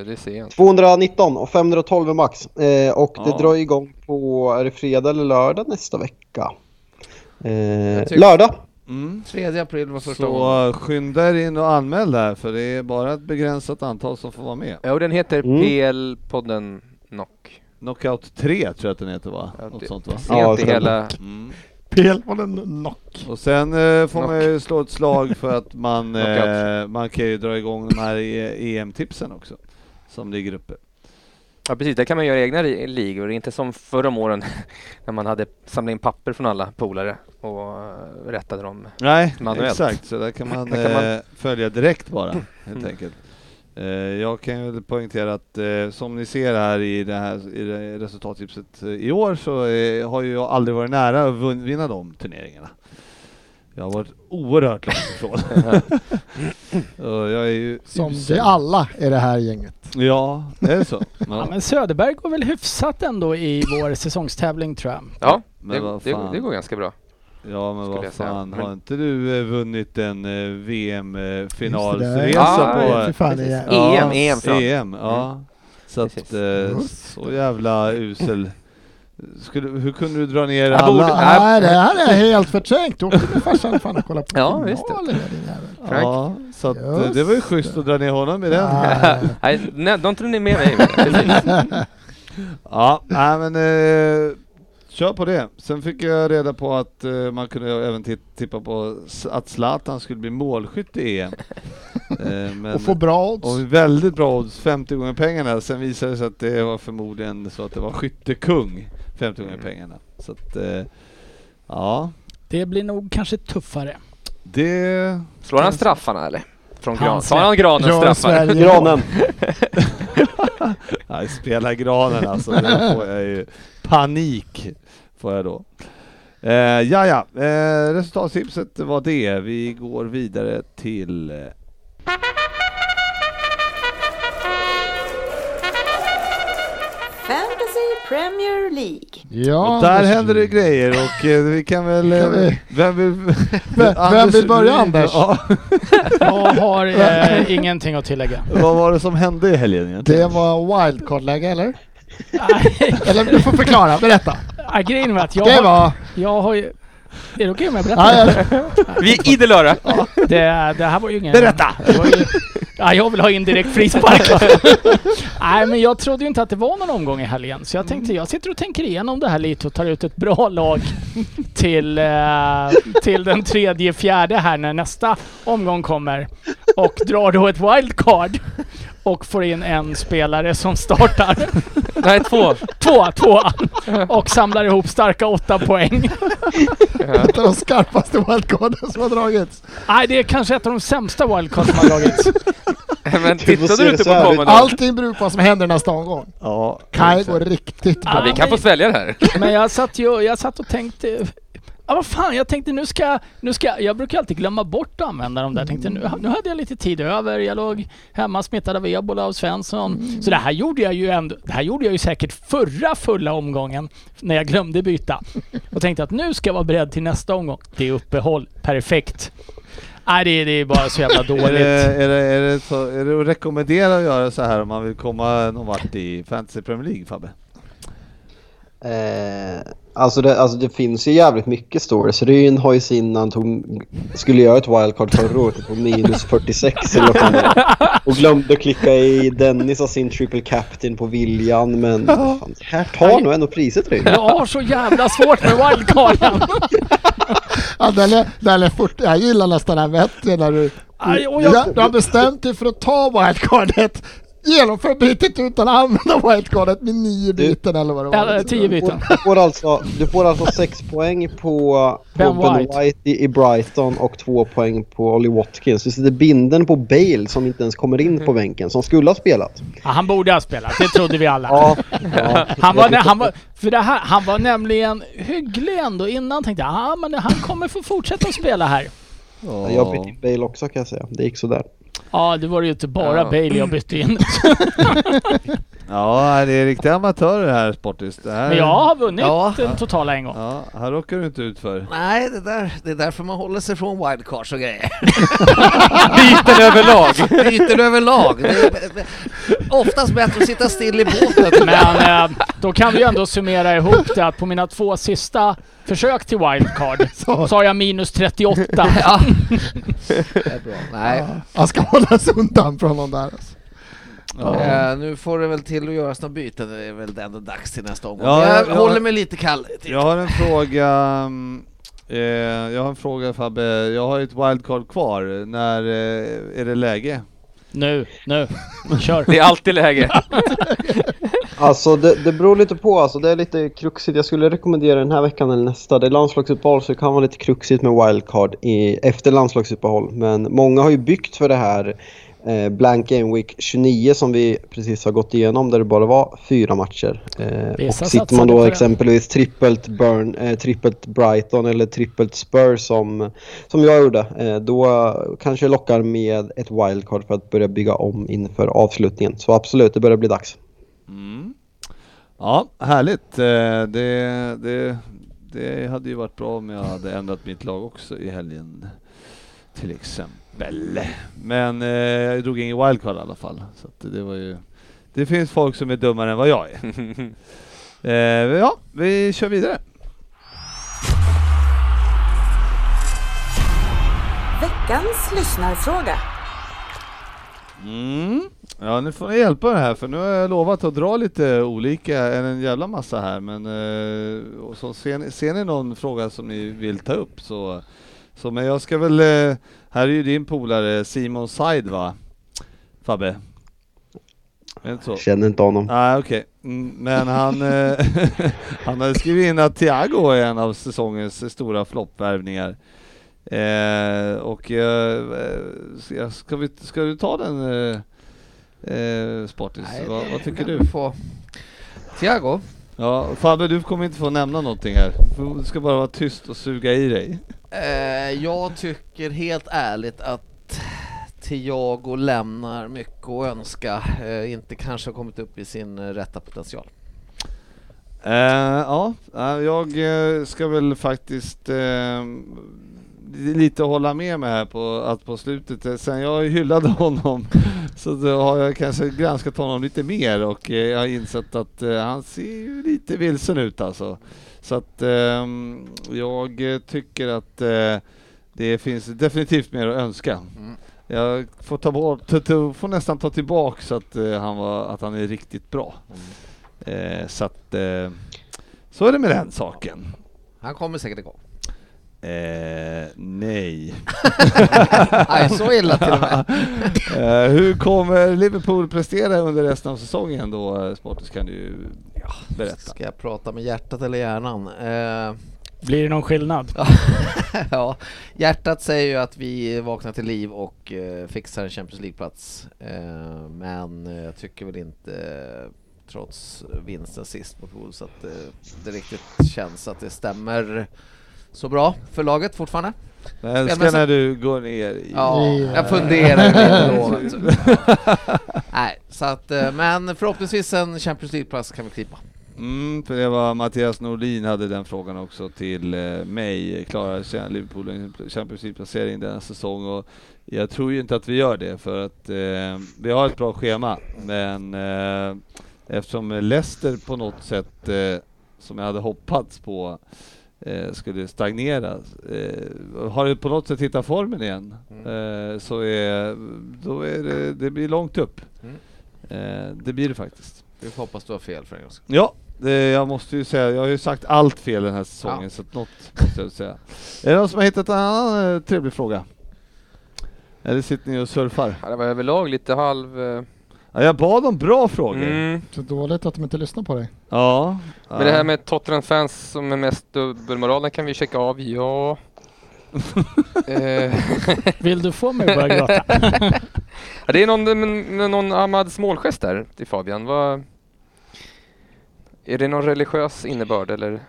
det ser jag inte. 219 och 512 är max. Eh, och det Ja. drar igång på, är det fredag eller lördag nästa vecka? Eh, tycker- lördag! Mm. 3 april var första gången. Så eh, skynda er in och anmäl där för det är bara ett begränsat antal som får vara med. Ja, och den heter Mm. PL-podden Knock. Knockout 3 tror jag att den heter va? Ja, typ. Något det- sånt va? Sent Ja, i det- hela... Mm. PL var en knock. Och sen eh, får Knock. man ju slå ett slag för att man, eh, Knockout. man kan ju dra igång de här E- EM-tipsen också som ligger uppe. Ja, precis. Där kan man göra egna li- ligor. Inte som förra om åren när man hade samlat in papper från alla polare och eh, rättade dem. Nej, Manuellt. exakt. Så där kan man, Där kan man- Eh, följa direkt bara, helt Mm. enkelt. Eh, jag kan ju poängtera att eh, som ni ser här i det här i det resultattipset eh, i år så eh, har ju jag aldrig varit nära att vun- vinna de turneringarna. Jag har varit oerhört långt ifrån. Och jag är ju Som usel. det alla i det här gänget. Ja, det är så. Ja, Men, men Söderberg går väl hyfsat ändå i vår säsongstävling tror jag. Ja, men vad det, det, fan. det går ganska bra. Ja men skulle vad jag säga. fan, har Men- inte du eh, vunnit en eh, VM-finalsresa Just det, ja, på... ja, Fy fan, det är- precis. EM, EM fram. EM, E ja. Så att, Precis. eh, så jävla usel. Skulle, hur kunde du dra ner Jag borde- alla? Nej. Nej, det här är helt förträngt. Då åkte min farsa fan och kollade på Ja, visst det. finalen, din jävel. Frank. Ja, så att, eh, det var ju schysst att dra ner honom i den. Nej. Nej, nej, de tror ni är med mig. Precis. Ja, nej men eh, kör på det. Sen fick jag reda på att eh, man kunde även ti- tippa på s- att Zlatan skulle bli målskytt i EM. Eh, men, Och få bra odds. och väldigt bra odds, 50 gånger pengarna. Sen visade det sig att det var förmodligen så att det var skyttekung, 50 gånger Mm. pengarna. Så att, eh, ja. Det blir nog kanske tuffare. Det... Slår han straffarna eller? Från Han gran. Tar släpp- han granens Ja, straffar? Sverige. Granen! Nej, spela granen alltså. Då får jag ju panik. Får jag då. Eh, ja, ja. Eh, resultattipset var det. Vi går vidare till... eh, Fantasy Premier League. Ja, och där Anders. händer det grejer och eh, vi kan väl... eh, Kan vi- Vem vill... vem vill börja, Anders? Ja, Jag har eh, ingenting att tillägga. vad var det som hände i helgen egentligen? Det var wildcard-läge eller? Nej, Eller du får förklara, berätta. ja, Grejen var att jag Det har... var... Jag har ju... Är det okej om jag berättar? Ja, ja. Vi är idel öra. Det, det här var ju ingen... Berätta! Det var ju, ja, jag vill ha indirekt frispark. Nej, men jag trodde ju inte att det var någon omgång i helgen. Så jag tänkte, jag sitter och tänker igenom det här lite och tar ut ett bra lag till, eh, till den tredje, fjärde här när nästa omgång kommer. Och drar då ett wildcard. Och får in en spelare som startar. Nej, två. Två, två. Och samlar ihop starka åtta poäng. Det var de skarpaste wildcarden som har dragits. Nej, det är kanske ett av de sämsta wildcards som har dragits. Men Du får tittade se du det inte så Typ på här. kommande? Allting beror på vad som händer nästa omgång. Ja, Kaj går riktigt bra. Ja, vi kan få svälja det här. Men jag satt ju jag satt och tänkte... Ja, vad fan, jag tänkte nu ska, jag- nu ska jag- jag... brukar alltid glömma bort att använda de där. Tänkte, nu, nu hade jag lite tid över. Jag låg hemma smittad av ebola av Svensson. Så det här gjorde jag ju ändå... Det här gjorde jag ju säkert förra fulla omgången när jag glömde byta. Och tänkte att nu ska jag vara beredd till nästa omgång. Det är uppehåll. Perfekt. Nej, det, det är bara så jävla Är det, dåligt. är, det, är, det så, är det att rekommendera att göra så här om man vill komma någon vart i Fantasy Premier League, Fabbe? Eh, alltså, det, alltså det finns ju jävligt mycket stories. Ryn har ju sin när han tog, skulle göra ett wildcard förra året och tog minus 46 eller vad fan det var. Och glömde klicka i Dennis har sin triple captain på viljan men fan, det här tar nog ändå priset Ryn. Jag har så jävla svårt med wildcarden. Ja, den är, den är 40, jag gillar nästan den här bättre när du... Aj, och jag- ja, du har bestämt dig för att ta wildcardet. Genomför bytet utan att använda wildcardet med nio byten eller vad det Eller var. tio byten. Du får alltså, du får alltså sex poäng på Ben på ben White. White, i, i Brighton och två poäng på Ollie Watkins. Du sitter binden på Bale som inte ens kommer in på bänken, som skulle ha spelat. Ja, han borde ha spelat, det trodde vi alla. ja. Han var, han, var, för det här, han var nämligen hygglig ändå innan. Tänkte jag ah, men han kommer få fortsätta att spela här. Ja. Jag bytte in Bale också kan jag säga. Det gick sådär. Ja, det var ju inte bara Ja. Bale jag bytte in. Ja, det är riktiga amatörer här Sportis. Det här, Men jag har vunnit Ja. den totala en gång. Ja, här åker du inte ut för. Nej, det, där, det är därför man håller sig från wildcards och grejer. Byten överlag. Byter överlag. Det är oftast bättre att sitta still i båten. Men eh, då kan vi ju ändå summera ihop det att på mina två sista försök till wildcard så har jag minus 38. Ja. Det är bra. Nej, Han ska hålla sig undan från de där. Alltså. eh, nu får det väl till att göras några byten. Det är väl ändå dags till nästa omgång. Ja, jag, jag- håller mig lite kall. typ. Jag har en fråga. mm, Eh, jag har en fråga Fabbe. Jag har ju ett wildcard kvar. När eh, är det läge? Nu, nu, kör. Det är alltid läge. Alltså det, det beror lite på. Alltså, det är lite kruxigt. Jag skulle rekommendera den här veckan eller nästa. Det är landslagsuppehåll så det kan vara lite kruxigt med wildcard i, efter landslagsuppehåll. Men många har ju byggt för det här eh, Blank Game Week 29 som vi precis har gått igenom där det bara var fyra matcher. Eh, och Vissa sitter man satsade på då det. exempelvis trippelt, Burn, eh, trippelt Brighton eller trippelt Spurs som, som jag gjorde. Eh, då kanske jag lockar med ett wildcard för att börja bygga om inför avslutningen. Så absolut, det börjar bli dags. Ja, härligt. Eh, det, det, det hade ju varit bra om jag hade ändrat mitt lag också i helgen. Till exempel. Men eh, jag drog ingen wildcard i alla fall. Så att det var ju... Det finns folk som är dummare än vad jag är. Eh, ja, vi kör vidare. Veckans lyssnarfråga. Mm. Ja, nu får ni hjälpa det här för nu har jag lovat att dra lite olika, en, en jävla massa här men eh, och så ser, ni, ser ni någon fråga som ni vill ta upp så, så men jag ska väl, eh, här är ju din polare Simon Said va? Fabbe? Är det inte så? Känner inte honom. Nej okej, Mm, men han, eh, han har skrivit in att Thiago är en av säsongens stora floppvärvningar. Eh, och eh, ska, ska, vi, ska du ta den eh, eh, Sportis? Nej, Vad, det vad tycker kan du? Få. Thiago, Ja, Fabbe du kommer inte få nämna någonting här. Du ska bara vara tyst och suga i dig. Eh, jag tycker helt ärligt att Thiago lämnar mycket att önska. Eh, inte kanske har kommit upp i sin eh, rätta potential. Eh, ja, eh, jag eh, ska väl faktiskt eh, lite hålla med mig här på att på slutet, eh, sen jag hyllade honom så då har jag kanske granskat honom lite mer och eh, jag har insett att eh, han ser ju lite vilsen ut alltså. Så att ehm, jag eh, tycker att eh, det finns definitivt mer att önska. Mm. Jag får, ta bort, ta, ta, får nästan ta tillbaks att, eh, han var, att han är riktigt bra. Eh, så att, eh, så är det med den saken. Han kommer säkert igång. Eh, nej. Nej, så illa till och med. eh, hur kommer Liverpool prestera under resten av säsongen då? eh, Sportis kan du ju berätta. Ska jag prata med hjärtat eller hjärnan? Eh, Blir det någon skillnad? ja, hjärtat säger ju att vi vaknar till liv och eh, fixar en Champions League-plats. Eh, men eh, jag tycker väl inte, eh, trots vinsten sist mot Wolves, att eh, det riktigt känns att det stämmer så bra för laget fortfarande. Jag älskar men så- när du går ner i... Eh. Ja, Ja. jag funderar lite då. vet du. Nej, så att, eh, men förhoppningsvis en Champions League-plats kan vi klippa. Mm, för det var Mattias Norlin hade den frågan också till eh, mig. Klarar Cha- Liverpool en Champions League-placering denna säsong? Och jag tror ju inte att vi gör det för att eh, vi har ett bra schema. Men eh, eftersom Leicester på något sätt, eh, som jag hade hoppats på, eh, skulle stagnera. Eh, har det på något sätt hittat formen igen eh, så är, då är det, det blir långt upp. Mm. Eh, det blir det faktiskt. Vi får hoppas du har fel för en gångs skull. Ja, det, jag måste ju säga, jag har ju sagt allt fel den här säsongen Ja. så att något måste jag säga. Är det någon som har hittat en annan eh, trevlig fråga? Eller sitter ni och surfar? Ja, det var överlag lite halv... eh, Ja, jag bad om bra frågor. mm. Så dåligt att de inte lyssnar på dig. Ja. Men det här med Tottenham-fans som är mest dubbelmoralen kan vi checka av, ja. Eh, Vill du få mig att börja gråta? ja, det är någon, men- någon Ahmads målgest där till Fabian. Vad, är det någon religiös innebörd eller?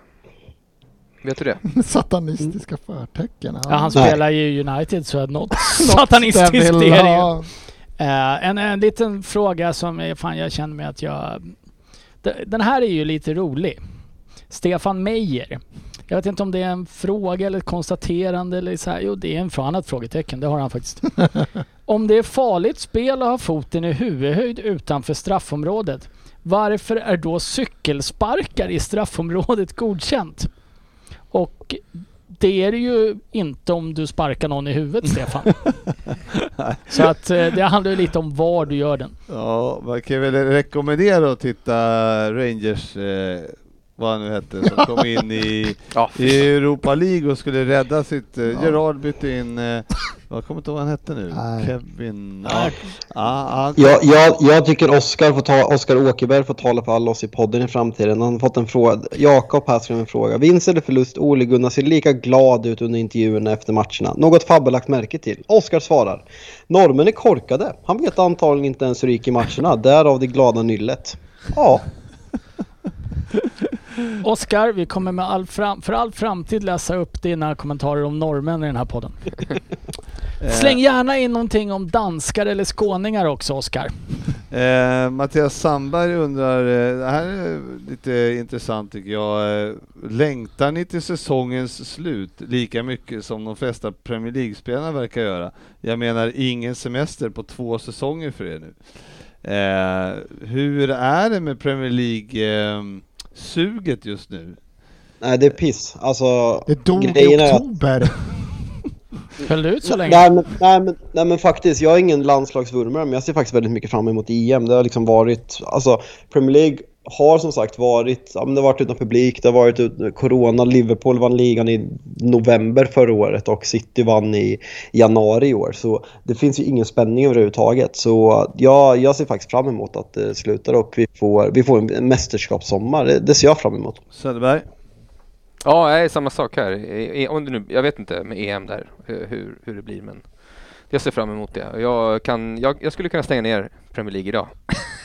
Vet du det? Satanistiska förtecken. Ja, han Nej. spelar ju i United så att något satanistiskt Den vill är det ju. ha- Eh, en, en liten fråga som är, fan jag känner mig att jag... D- Den här är ju lite rolig. Stefan Meijer. Jag vet inte om det är en fråga eller ett konstaterande eller så här. Jo, det är en fråga. Han har ett frågetecken. Det har han faktiskt. om det är farligt spel att ha foten i huvudhöjd utanför straffområdet. Varför är då cykelsparkar i straffområdet godkänt? Och det är det ju inte om du sparkar någon i huvudet, Stefan. Så att eh, det handlar ju lite om var du gör den. Ja, man kan väl rekommendera att titta Rangers, eh, vad han nu hette, som kom in i, Ja, i Europa League och skulle rädda sitt... Eh, Gerard bytte in, eh, jag kommer inte ihåg vad han hette nu, Nej. Kevin... Ja, ja, han Jag, jag, jag tycker Oskar får ta- Oskar Åkerberg får tala för alla oss i podden i framtiden. Han har fått en fråga. Jakob här skrev en fråga. Vinst eller förlust? Ole Gunnar ser lika glad ut under intervjuerna efter matcherna. Något Fabbe lagt märke till. Oskar svarar. Norrmän är korkade. Han vet antagligen inte ens hur det gick i matcherna. Därav det glada nyllet. Ja, Oskar, vi kommer med all fram, för all framtid läsa upp dina kommentarer om norrmän i den här podden. Släng gärna in någonting om danskar eller skåningar också, Oskar. Eh, Mattias Sandberg undrar, eh, det här är lite intressant tycker jag. Eh, längtar ni till säsongens slut lika mycket som de flesta Premier League-spelarna verkar göra? Jag menar ingen semester på två säsonger för er nu. Eh, hur är det med Premier League-suget just nu? nej det är piss. Alltså, Det dog grejen är i att- oktober. Höll du ut så länge? Nej men, nej, men, nej men faktiskt, jag är ingen landslagsvurmare men jag ser faktiskt väldigt mycket fram emot EM. Det har liksom varit, alltså Premier League har som sagt varit, ja, men det har varit utan publik, det har varit ut, corona, Liverpool vann ligan i november förra året och City vann i januari i år. Så det finns ju ingen spänning överhuvudtaget. Så ja, jag ser faktiskt fram emot att det slutar och vi får, vi får en mästerskapssommar. Det, det ser jag fram emot. Söderberg? ja nej, samma sak här. Eh, eh, Om det nu, jag vet inte med EM där eh, hur, hur det blir men jag ser fram emot det. Jag, kan, jag, jag skulle kunna stänga ner Premier League idag.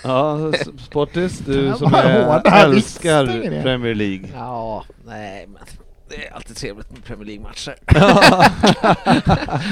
Ja, s- Sportis, du Ja, som vad är, hårda älskar listor det. Premier League. Ja, nej men det är alltid trevligt med Premier League-matcher.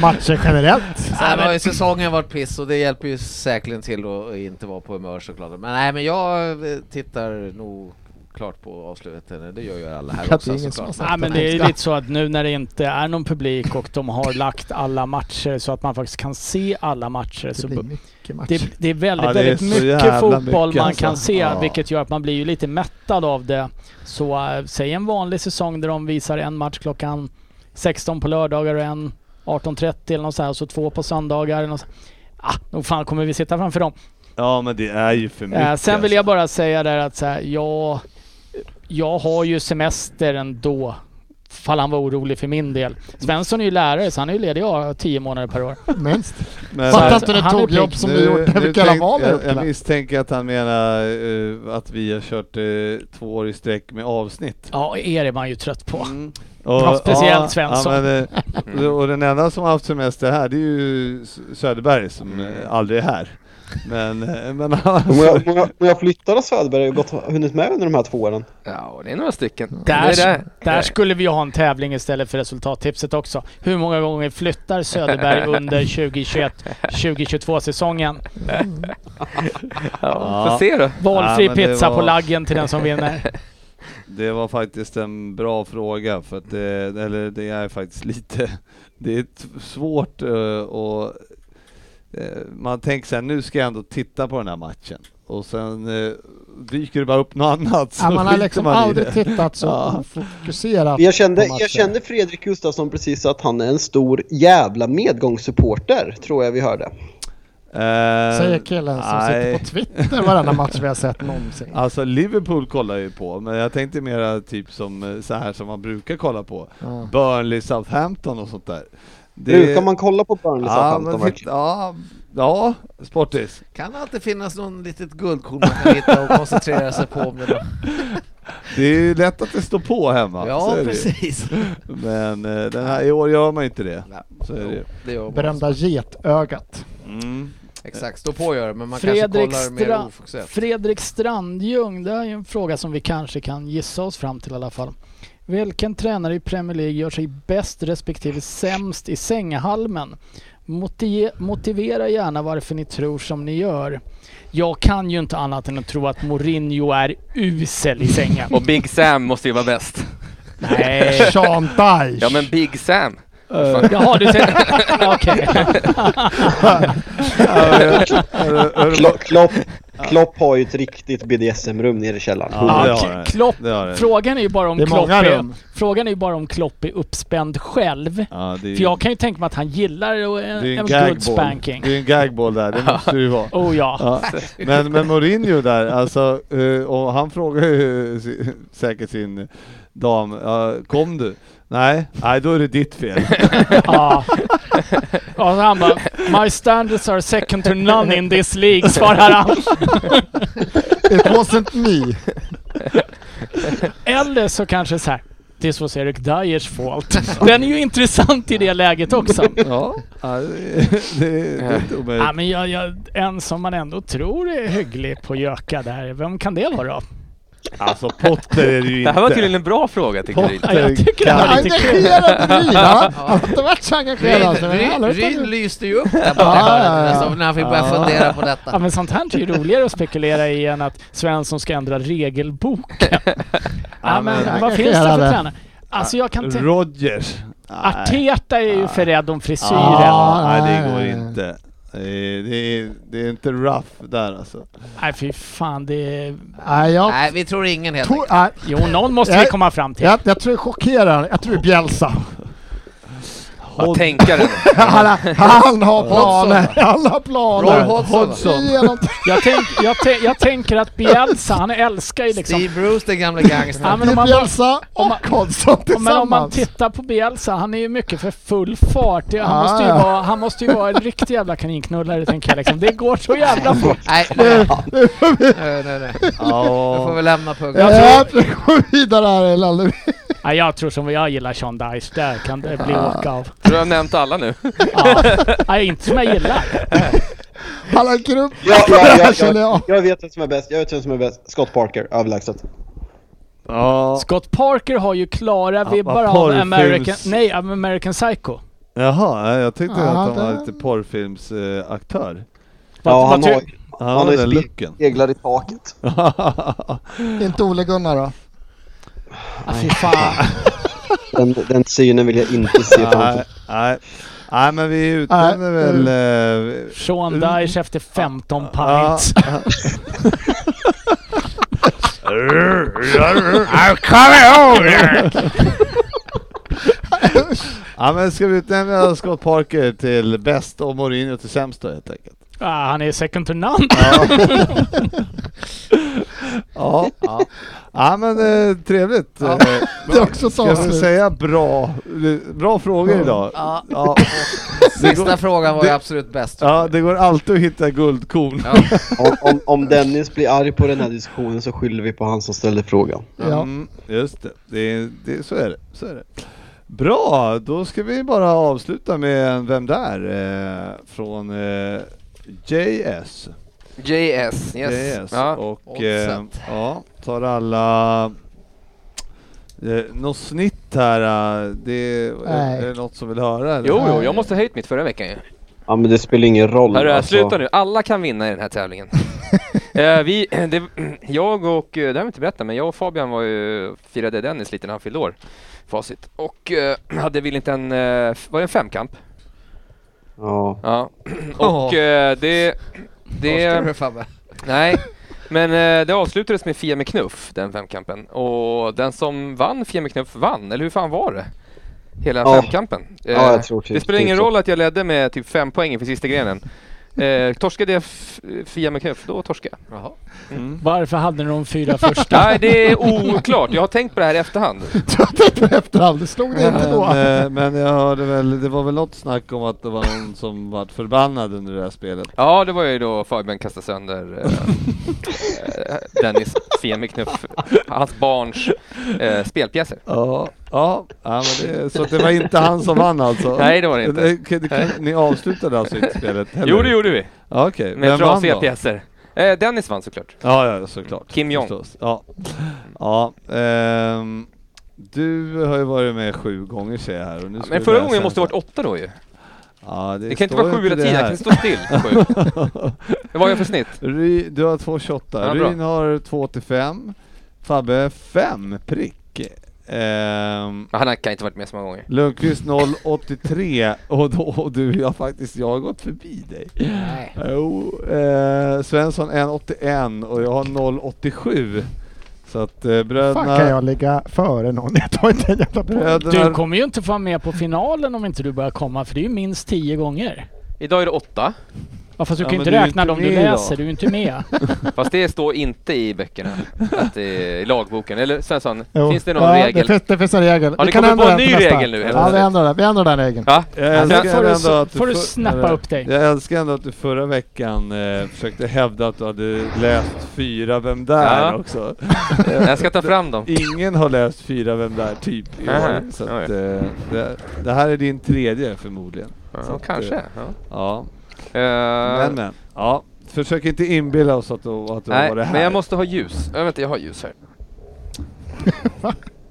Matcher generellt. Sen har ju säsongen varit piss och det hjälper ju säkerligen till att inte vara på humör såklart. Men nej, men jag eh, tittar nog klart på avslutningen. Det gör ju alla här Det är också ingen som har såklart. sagt Nej men att han det är ska- lite så att nu när det inte är någon publik och de har lagt alla matcher så att man faktiskt kan se alla matcher så Det blir mycket matcher. Det, det är väldigt, Ja, det är väldigt så mycket jävla fotboll mycket, man alltså. kan se, Ja. vilket gör att man blir ju lite mättad av det. Så äh, säg en vanlig säsong där de visar en match klockan 16 på lördagar och en 18.30 eller något så här, och så två på söndagar. Eller något så. Ah, nog fan kommer vi sitta framför dem. Ja, men det är ju för mycket. Äh, sen vill jag alltså. bara säga där att så här, jag, jag har ju semester ändå. Fall han var orolig för min del. Svensson är ju lärare så han är ju ledig ja, tio månader per år. Minst. alltså. Men- Fattar inte du han är tog pigg. jobb som du gjorde när vi kallade tänk- val jag, jag upp misstänker att han menar eh, att vi har kört eh, två år i sträck med avsnitt. Ja, er är man ju trött på. Och, Ja, speciellt Svensson. Mm. Ja, men, eh, och den enda som har haft semester här det är ju S- Söderberg som eh, aldrig är här. Men, eh, men Om alltså, jag, om jag, om jag flyttar av Söderberg har jag gått, hunnit med under de här två åren. Ja, och det är några stycken. Där, det är det. där skulle vi ju ha en tävling istället för resultattipset också. Hur många gånger flyttar Söderberg under 2021-2022 säsongen? Ja, Ja. Eh, får se då. Valfri Ja, men det pizza på var- laggen till den som vinner. det var faktiskt en bra fråga för att det, eller det är faktiskt lite, det är t- svårt eh, och eh, man tänker så här, nu ska jag ändå titta på den här matchen och sen eh, dyker det bara upp något annat så Ja, man har skiter liksom man i aldrig det. tittat så Ja. fokuserat Jag kände, på matchen. jag kände Fredrik Gustafsson precis att han är en stor jävla medgångssupporter, tror jag vi hörde. Eh, Säger killen som sitter nej. på Twitter varenda match vi har sett någonsin. Alltså Liverpool kollar jag ju på, men jag tänkte mera typ som eh, så här som man brukar kolla på. Ja. Burnley, Southampton och sånt där. Det- Brukar man kolla på Burnley ja, men, Southampton? fitt- ja, ja, Sportis. Kan alltid finnas någon litet guldkorn man kan hitta och koncentrera sig på om det då. Det är ju lätt att det står på hemma. så Ja, är det ju. precis. Men eh, den här, i år gör man ju inte det. Så är det ju. Det gör man. Berömda getögat. Mm. Exakt, stå på gör det, men man Fredrik kanske kollar mer Stra- ofokuserat. Fredrik Strandljung, det här är ju en fråga som vi kanske kan gissa oss fram till i alla fall. Vilken tränare i Premier League gör sig bäst respektive sämst i sänghalmen? Motive- motivera gärna varför ni tror som ni gör. Jag kan ju inte annat än att tro att Mourinho är usel i sängen. Och Big Sam måste ju vara bäst. Nej. Eh. Sean Dyche. Ja, men Big Sam. Jaha, du tänker... Okej. Klopp, Klopp, Klopp har ju ett riktigt BDSM-rum nere i källaren. Ja, det Ja, har den. Klopp- Det har den. Frågan är ju bara om Det är Klopp många är, rum. frågan är ju bara om Klopp är uppspänd själv. Ja, det är, För jag kan ju tänka mig att han gillar en, det är en en good gagball. spanking. Det är en gagball där, det måste det ju vara. Oh ja. Ja. Men, men Mourinho där, alltså, eh, och han frågar ju si- säkert sin dam, ja, kom du? Nej, nej då är det ditt fel. ja. Och han bara, My standards are second to none in this League, svarar han. It wasn't me. Eller så kanske så här. This was Eric Dyers fault. Den är ju intressant i det läget också. Ja, ja, det, det, det är inte Ja, omöjligt. men jag, jag, en som man ändå tror är hygglig på Jöka där, vem kan det vara då? Alltså Potter är det ju Det här var tydligen inte. en bra fråga tycker Ryd. Ja, jag tycker det var lite kul. Engagerad Ryd! Han han har inte varit så engagerad alltså. men han har Ryn, tagit- Ryn lyste ju upp där borta Ja, ja, ja. alltså, när han fick börja Ja. fundera på detta. Ja men sånt här är ju roligare att spekulera i än att Svensson ska ändra regelboken. ja, men vad finns det för engagerade. tränare? Alltså jag kan tänka... Rodgers. Nej, Arteta är ju för rädd om Ja. frisyren. Ah, nej, det Nej. går inte. Det är, det, är, det är inte rough där alltså. Nej fy fan, det är... Nej, jag, Nej, vi tror ingen helt tror, enkelt. nej, Jo, någon måste vi Jag- komma fram till. jag, jag tror jag chockerar. Jag tror det är Bjälsa. Vad tänker du? Han, har- han har Hodgson. planer. Han har Roy planer. Hodgson. Genom, Jag, tänk, jag, tän- jag tänker att Bielsa, han älskar ju liksom... Steve Bruce, den gamla Ja, gangstern. men om man, bara- Bjälsa om man- och Hodgson men om man tillsammans. tittar på Bielsa, han är ju mycket för full fart. Det- Han Ah, måste ju ja. vara, han måste ju vara en riktig jävla kaninknullare tänker jag liksom. Det går så jävla fort. Nej, nej, nej, nej, nej. Nu får Ja, vi lämna punkten. Jag tror vi går vidare här Lalle. Ja, jag tror som jag gillar Sean Dice, där kan det bli åka av. Du har nämnt alla nu. Ja. Nej, inte som jag gillar. Alla grupp Ja, på det ja, här ja, känner jag. jag, jag vet vem som är bäst, jag vet vem som är bäst. Scott Parker, överlägset. Ja, Scott Parker har ju klara vad vibbar av porrfilms- American, nej, av American Psycho. jaha, nej, jag tyckte Ja, att han var det- lite porrfilmsaktör. Ja, han ty- har, Han han har hade den ju looken. speglar i taket. Inte Ole-Gunnar då? Ah, fy fan. Den, den synen vill jag inte se framför Nej, nej. Nej men vi utnämner Nej, väl... eh, Sean Dyche efter 15 ja. pints. Ja men ska vi utnämna Scott Parker till bäst och Mourinho till sämst då helt enkelt? Ah, han är second to none. Mm. Ja. Ja, men eh, trevligt. Eh, Ja. Det är också ett Ska vi avslut. säga bra, bra frågor idag? Ja. Ja. Det Sista går, frågan var ju det- absolut bäst. ja, det går alltid att hitta guldkorn. Ja. Om, om, om Dennis blir arg på den här diskussionen så skyller vi på han som ställde frågan. Ja. Mm, just det. Det, är- det, så är det. Så är det. Bra, då ska vi bara avsluta med en Vem där? Eh, från eh, JS. JS, yes. JS. Ja. Och eh, Oddset. ja, tar alla... Eh, något snitt här, eh, det är, Nej. är det något som vill höra? eller? Jo, jo, jag måste ha höjt mitt förra veckan ju. Ja men det spelar ingen roll. Hörru, alltså. sluta nu. Alla kan vinna i den här tävlingen. Eh, vi, det, jag och, eh, det har vi inte berättat, men jag och Fabian var ju, firade Dennis lite när han fyllde år. Facit. Och eh, hade väl inte en, eh, f- var det en femkamp? Ja. Ja. Och eh, det, det, Avslöjar Fabbe. nej. Men eh, det avslutades med Fia med knuff, den femkampen. Och den som vann Fia med knuff vann, eller hur fan var det? Hela Ja. femkampen. Eh, Ja, jag tror typ- det spelar ingen typ så. roll att jag ledde med typ fem poäng inför sista grenen. Eh, torskade jag f- Fia med knuff, då torskade jag. Jaha. Varför hade ni de fyra första? Nej, det är oklart. Jag har tänkt på det här i efterhand. Du har tänkt på det efterhand, det slog dig inte då. Men, eh, men jag hörde väl, det var väl något snack om att det var någon som var förbannad under det här spelet. Ja, det var ju då Fabian kastade sönder eh, eh, Dennis Fia med knuff, hans barns eh, spelpjäser. Ja, ja, ja men det, så att det var inte han som vann alltså? Nej, det var det inte. Det- det- det- ni avslutade alltså inte spelet heller? Jo, det gjorde vi. Ja, Okej, Med vem vann trasiga då? pjäser. Eh, Dennis vann såklart. Ja, ja, såklart. Kim Jong. Förstås. Ja. ja ehm, du har ju varit med sju gånger ser jag här. Och nu Ja, ska men vi förra läsa gången måste det en- varit åtta då ju. Ja, det, Det kan inte står vara sju hela det tiden, jag här. kan stå still på sju. Vad var jag för snitt? Ry, du har 2,28. Ja, bra. Ryn har 2,85. Fabbe 5 prick. Ehm, Men Han kan inte varit med så många gånger. Lundqvist 0,83 och, då, och du, jag har faktiskt, jag har gått förbi dig. Nej. Jo, eh, Svensson 1,81 och jag har 0,87. Så att eh, Fan kan bröderna, jag ligga före någon? Jag tar inte en jävla poäng. Du bröderna kommer ju inte få vara med på finalen om inte du börjar komma, för det är ju minst tio gånger. Idag är det åtta, Ja, fast du Ja, kan ju men inte du är ju räkna inte dem du med idag. läser, du är ju inte med. fast det står inte i böckerna, att det är i lagboken. Eller Svensson, Jo. finns det någon ja, regel? Det finns, det finns en regel. Ja, det kan kommer ändra på en den till ny nästa. regel nu, helt Ja, vi plötsligt. ändrar den. Vi ändrar den regeln. Va? Jag Alltså, älskar får du- ändå att du får du för- snappa upp dig. Jag älskar ändå att du förra veckan eh, försökte hävda att du hade läst fyra Vem där Ja. också. Jag ska ta fram dem. Ingen har läst fyra Vem där typ i Aha, år. Så att, oj. eh, det, det här är din tredje förmodligen. Ja, kanske. Ja. Ja, Eh, men men. Ja. Försök inte inbilla oss att du, att du nej, har det här. men jag måste ha ljus. Jag vänta, jag har ljus här.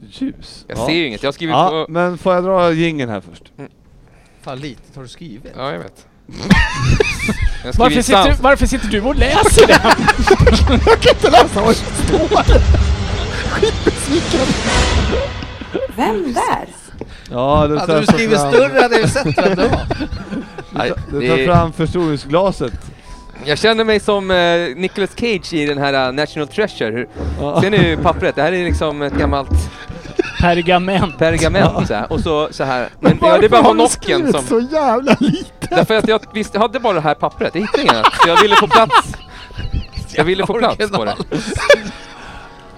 Ljus. Jag ja. ser ju inget. Jag har skrivit Ja, på... men får jag dra jingeln här först? Fan lite har du skrivit? Ja, jag vet. Jag har Varför skrivit sitter, du, sans- varför sitter du och läser det? Alltså, Vem där? Ja, du Hade du skrivit fram, större hade jag ju sett vem det var. Nej, Du det- tar fram förstoringsglaset. Jag känner mig som eh, Nicolas Cage i den här eh, National Treasure. Hur, Ser ni pappret? Det här är liksom ett gammalt Pergament. pergament så här. och så, så här. Men, ja, Varför det är bara har du monocken skrivit som... så jävla lite? Därför att jag visste, jag hade bara det här pappret, jag hittade inget annat. Så jag ville få plats. Jag ville få plats på det. Ja,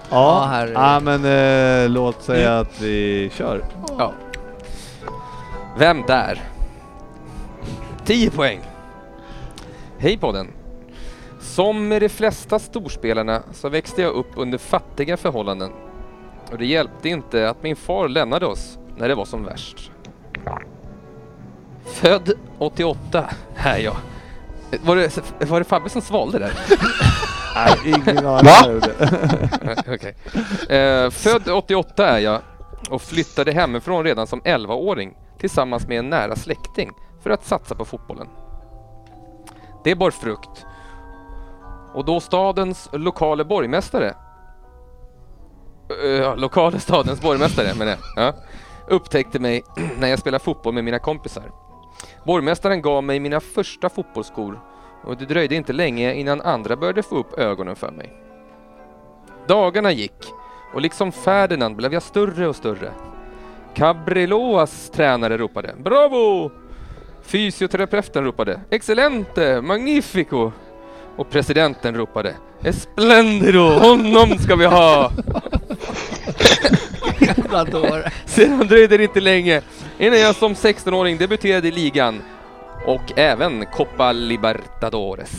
Ja, herregud. ja men eh, låt säga Mm. att vi kör. Ja. Vem där? 10 poäng. Hej podden. Som med de flesta storspelarna så växte jag upp under fattiga förhållanden. Och det hjälpte inte att min far lämnade oss när det var som värst. Född 88 är jag. Var det, var det Fabbe som svalde där? Nej, ingen aning. Va? om det. Nej, Okej. Eh, född 88 är jag och flyttade hemifrån redan som 11-åring tillsammans med en nära släkting för att satsa på fotbollen. Det bar frukt. Och då stadens lokale borgmästare eh, lokale stadens borgmästare menar jag. Ja. Upptäckte mig när jag spelade fotboll med mina kompisar. Borgmästaren gav mig mina första fotbollsskor och det dröjde inte länge innan andra började få upp ögonen för mig. Dagarna gick och liksom Ferdinand blev jag större och större. Cabreloas tränare ropade ”Bravo!” Fysioterapeuten ropade ”Excellente! Magnifico!” Och presidenten ropade ”Esplendido! Honom ska vi ha!” Jävla dåre. Sedan dröjde det inte länge innan jag som 16-åring debuterade i ligan och även Copa Libertadores.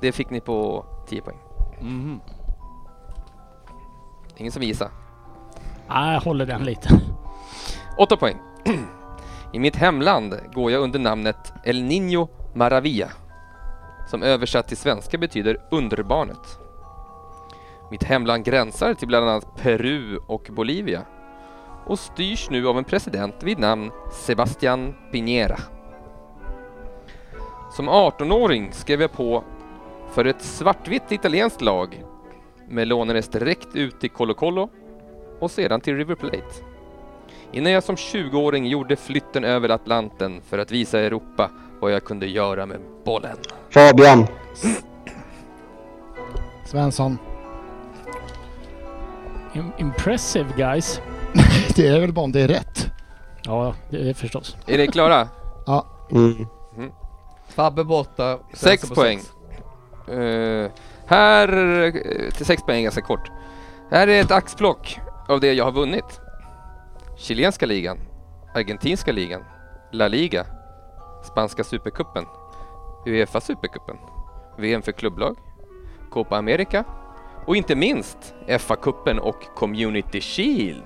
Det fick ni på 10 poäng. Mhm. Ingen som gissar. Nej, Ah, jag håller den lite. 8 poäng. I mitt hemland går jag under namnet El Niño Maravilla, som översatt till svenska betyder underbarnet. Mitt hemland gränsar till bland annat Peru och Bolivia och styrs nu av en president vid namn Sebastián Piñera. Som 18-åring skrev jag på för ett svartvitt italienskt lag men lånades direkt ut till Colo Colo och sedan till River Plate innan jag som 20-åring gjorde flytten över Atlanten för att visa Europa vad jag kunde göra med bollen. Fabian. Svensson. Im- impressive guys. Det är väl bara om det är rätt. Ja, det är förstås. Är ni klara? Mm. Fabbe borta. Sex Svensson på poäng. Eh, här... eh, Till sex poäng ganska kort. Här är ett axplock av det jag har vunnit. Chilenska ligan, Argentinska ligan, La Liga, Spanska Supercupen, Uefa Supercupen, VM för klubblag, Copa America och inte minst FA-cupen och Community Shield.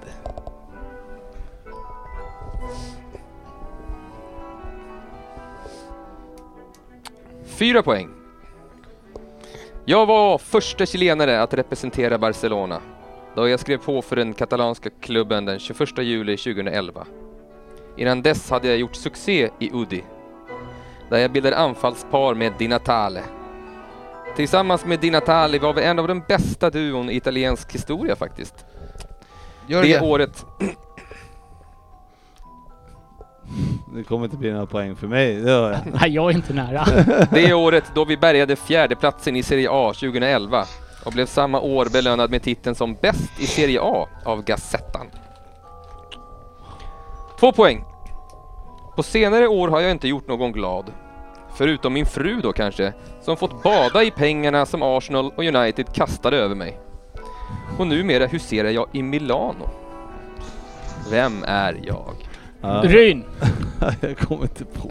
Fyra poäng. Jag var första chilenare att representera Barcelona då jag skrev på för den katalanska klubben den 21 juli 2011. Innan dess hade jag gjort succé i Udi där jag bildade anfallspar med Di Natale. Tillsammans med Di Natale var vi en av den bästa duon i italiensk historia faktiskt. Gör det det. året Det kommer inte bli några poäng för mig, det hör jag. Nej, jag är inte nära. Det året då vi bärgade fjärdeplatsen i Serie A 2011 och blev samma år belönad med titeln som bäst i Serie A av Gazettan. Två poäng. På senare år har jag inte gjort någon glad. Förutom min fru då kanske, som fått bada i pengarna som Arsenal och United kastade över mig. Och numera huserar jag i Milano. Vem är jag? Ja. Ryn! Jag kommer inte på.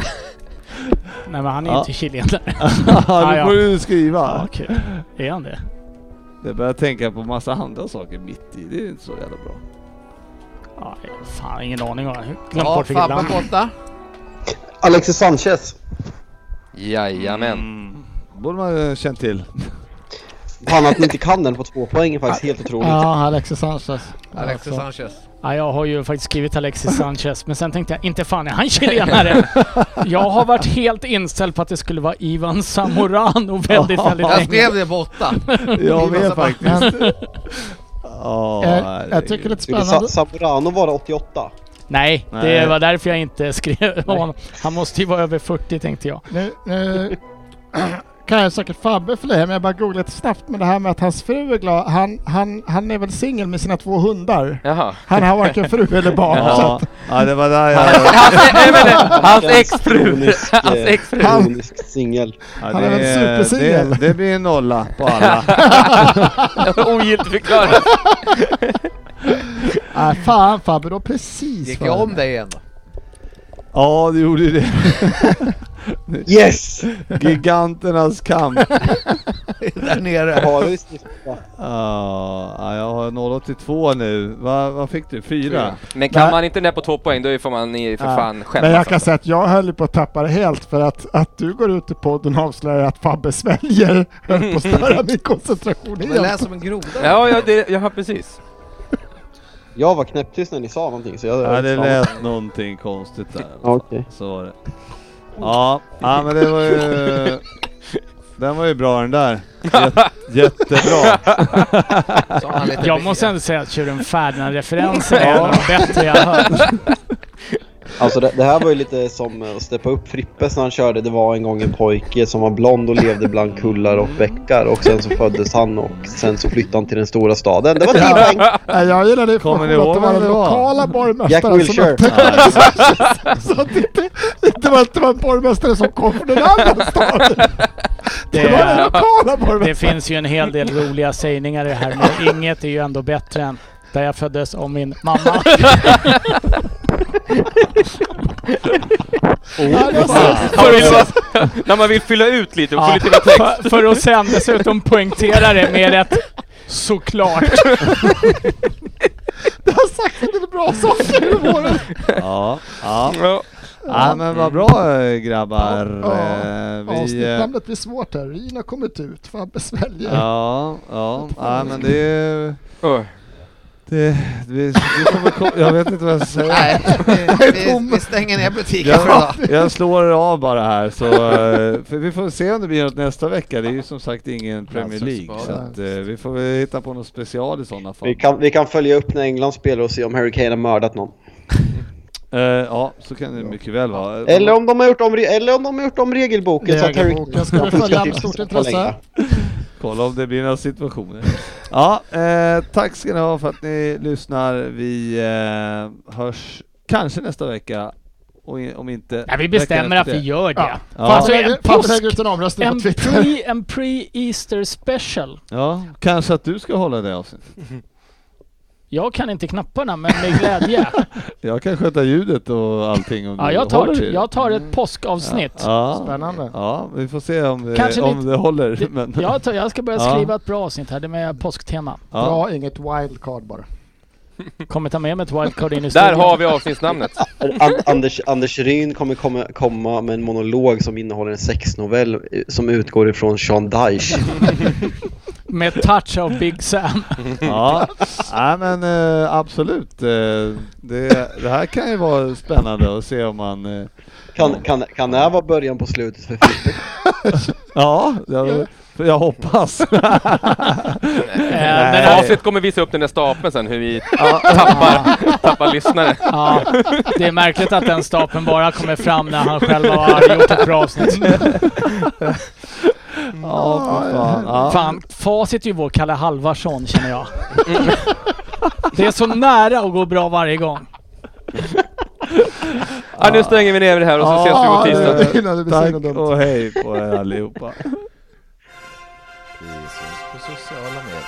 Nej men han är Ja. ju inte chilenare. Ja, ja. nu får du skriva. Ja, kul. Är han det? Jag börjar tänka på massa andra saker mitt i, det är inte så jävla bra. Ja, fan, ingen aning. Jag har glömt Ja, bort vilket land. Fabbe borta. Alexis Sanchez. Jajamän. Mm. Borde man eh, känt till. Fan att ni inte kan den på två poäng är faktiskt helt otroligt. Ja, Alexis Sanchez. Alexis Alltså, Sanchez. Ja, jag har ju faktiskt skrivit Alexis Sanchez, men sen tänkte jag inte fan är han chilenare? Jag har varit helt inställd på att det skulle vara Ivan Zamorano väldigt, väldigt Jag länge. skrev det borta. Jag med faktiskt. Men Ja, eh, jag tycker det är herregud. lite Skulle spännande. Sa- Zamorano vara 88? Nej, det Nej. var därför jag inte skrev honom. Han måste ju vara över 40 tänkte jag. Nu, nu kan jag säkert Fabbe för det här, men jag bara googlar lite snabbt med det här med att hans fru är glad. Han, han, han är väl singel med sina två hundar? Jaha. Han har varken fru eller barn. Så Ja, att ja, det var där jag... Hans, e- nej, men, hans exfru! Kronisk, Hans eh, exfru! kronisk singel. Ja, Han är väl det- supersingel. Det, det blir en nolla på alla. Ogiltigförklarat. Nej, äh, fan Fabbe, då precis Gick vad jag det om är. dig igen då? Ja, du gjorde ju det. Yes! Giganternas kamp. där nere. Har vi sista? Ah, ja, jag har 082 nu. Va, vad fick du? Fyra? Men kan Nej. man inte ner på två poäng då får man i- för Ja. fan alltså. Men jag skämmas. kan säga att jag höll ju på att tappa det helt för att, att du går ut i podden och avslöjar att Fabbe sväljer höll på att störa min koncentration Men lät helt. som en groda. Ja, ja, det, ja, precis. Jag var knäpptyst när ni sa någonting så jag... Ja, det lät någonting konstigt där. Ja, Okej. Så var det. Ja, ja men det var ju... Den var ju bra den där. Jätte, jättebra. Sa han lite Jag mer. måste ändå säga att Tjuren Ferdinand-referensen är en Ja. av de bättre jag har hört. Alltså det, det här var ju lite som att steppa upp Frippes när han körde Det var en gång en pojke som var blond och levde bland kullar och bäckar och sen så föddes han och sen så flyttade han till den stora staden. Det var tio poäng! Nej, jag gillade Kommer ni informationen att det ihåg var vem den det var? lokala Jack borgmästaren som Wilshere. upptäckte så att det inte, inte var att det var en borgmästare som kom från den andra staden. Det var den Det, lokala det borgmästaren. finns ju en hel del roliga sägningar i det här men inget är ju ändå bättre än där jag föddes av min mamma. Ja, det var så- Man vill bara, när man vill fylla ut lite och få Ja, lite mer text. för, för att sen dessutom poängtera det med ett såklart. Det har sagt en del bra saker i våren. Ja, ja. Ja. ja men vad bra eh, grabbar. Ja, Eh, Vi, eh, Avsnittnamnet blir svårt här. Ryn har kommit ut. Fabbe sväljer. ja, ja, ja, men det är... Oj. Det, vi, vi får väl ko- jag vet inte vad jag ska säga. Nej, vi, vi, vi stänger ner butiken för idag. Jag, jag slår av bara här så, eh, för vi får se om det blir något nästa vecka. Det är ju som sagt ingen Premier League så att, eh, vi får väl hitta på något special i sådana fall. Vi kan, vi kan följa upp när England spelar och se om Harry Kane har mördat någon. Eh, ja, så kan det mycket väl vara. Eller om de har gjort om, re- eller om, de har gjort om regelboken så att Harry Regelboken ska vi följa med stort intresse. Kolla om det blir några situationer. Ja, eh, tack ska ni ha för att ni lyssnar. Vi eh, hörs kanske nästa vecka. Och i- om inte... Nej, vi veckan bestämmer att efter vi det. gör det. Ja. Alltså, en Fabbe påsk- lägger ut en omröstning En på Twitter. pre- en pre-Easter special. Ja, kanske att du ska hålla det avsnittet. Jag kan inte knapparna men med glädje. Jag kan sköta ljudet och allting om Ja, du jag håller tar, i det. jag tar ett påskavsnitt. Ja. Spännande. Ja, vi får se om, det, Kanske om lite- det håller. det- men, Jag, tar, jag ska börja Ja. skriva ett bra avsnitt här, det är med påsktema. ja. Bra, inget wildcard bara. Kommer ta med mig ett wildcard in i Där studion. har vi avsnittsnamnet. An- Anders, Anders Ryn kommer komma, komma med en monolog som innehåller en sexnovell eh, som utgår ifrån Sean Dyche. Med touch av Big Sam. ja. Nej, men eh, absolut. Eh, det, det här kan ju vara spännande att se om man... eh, Kan, kan, kan det här vara början på slutet för Frippe? ja, jag, för jag hoppas. Eh, den Men här- Avsnitt kommer visa upp den nästa stapeln sen hur vi tappar, tappar lyssnare. Ja, det är märkligt att den stapeln bara kommer fram när han själv har gjort ett bra avsnitt. ja, för fan. Ja. Fan, facit är ju vår Kalle Halvarsson känner jag. Det är så nära att gå bra varje gång. Ja, nu stänger vi ner det här och så ses vi på Ja, tisdag. det- innan det blir så himla Tack dumt. och hej på er allihopa. Vi syns på sociala medier.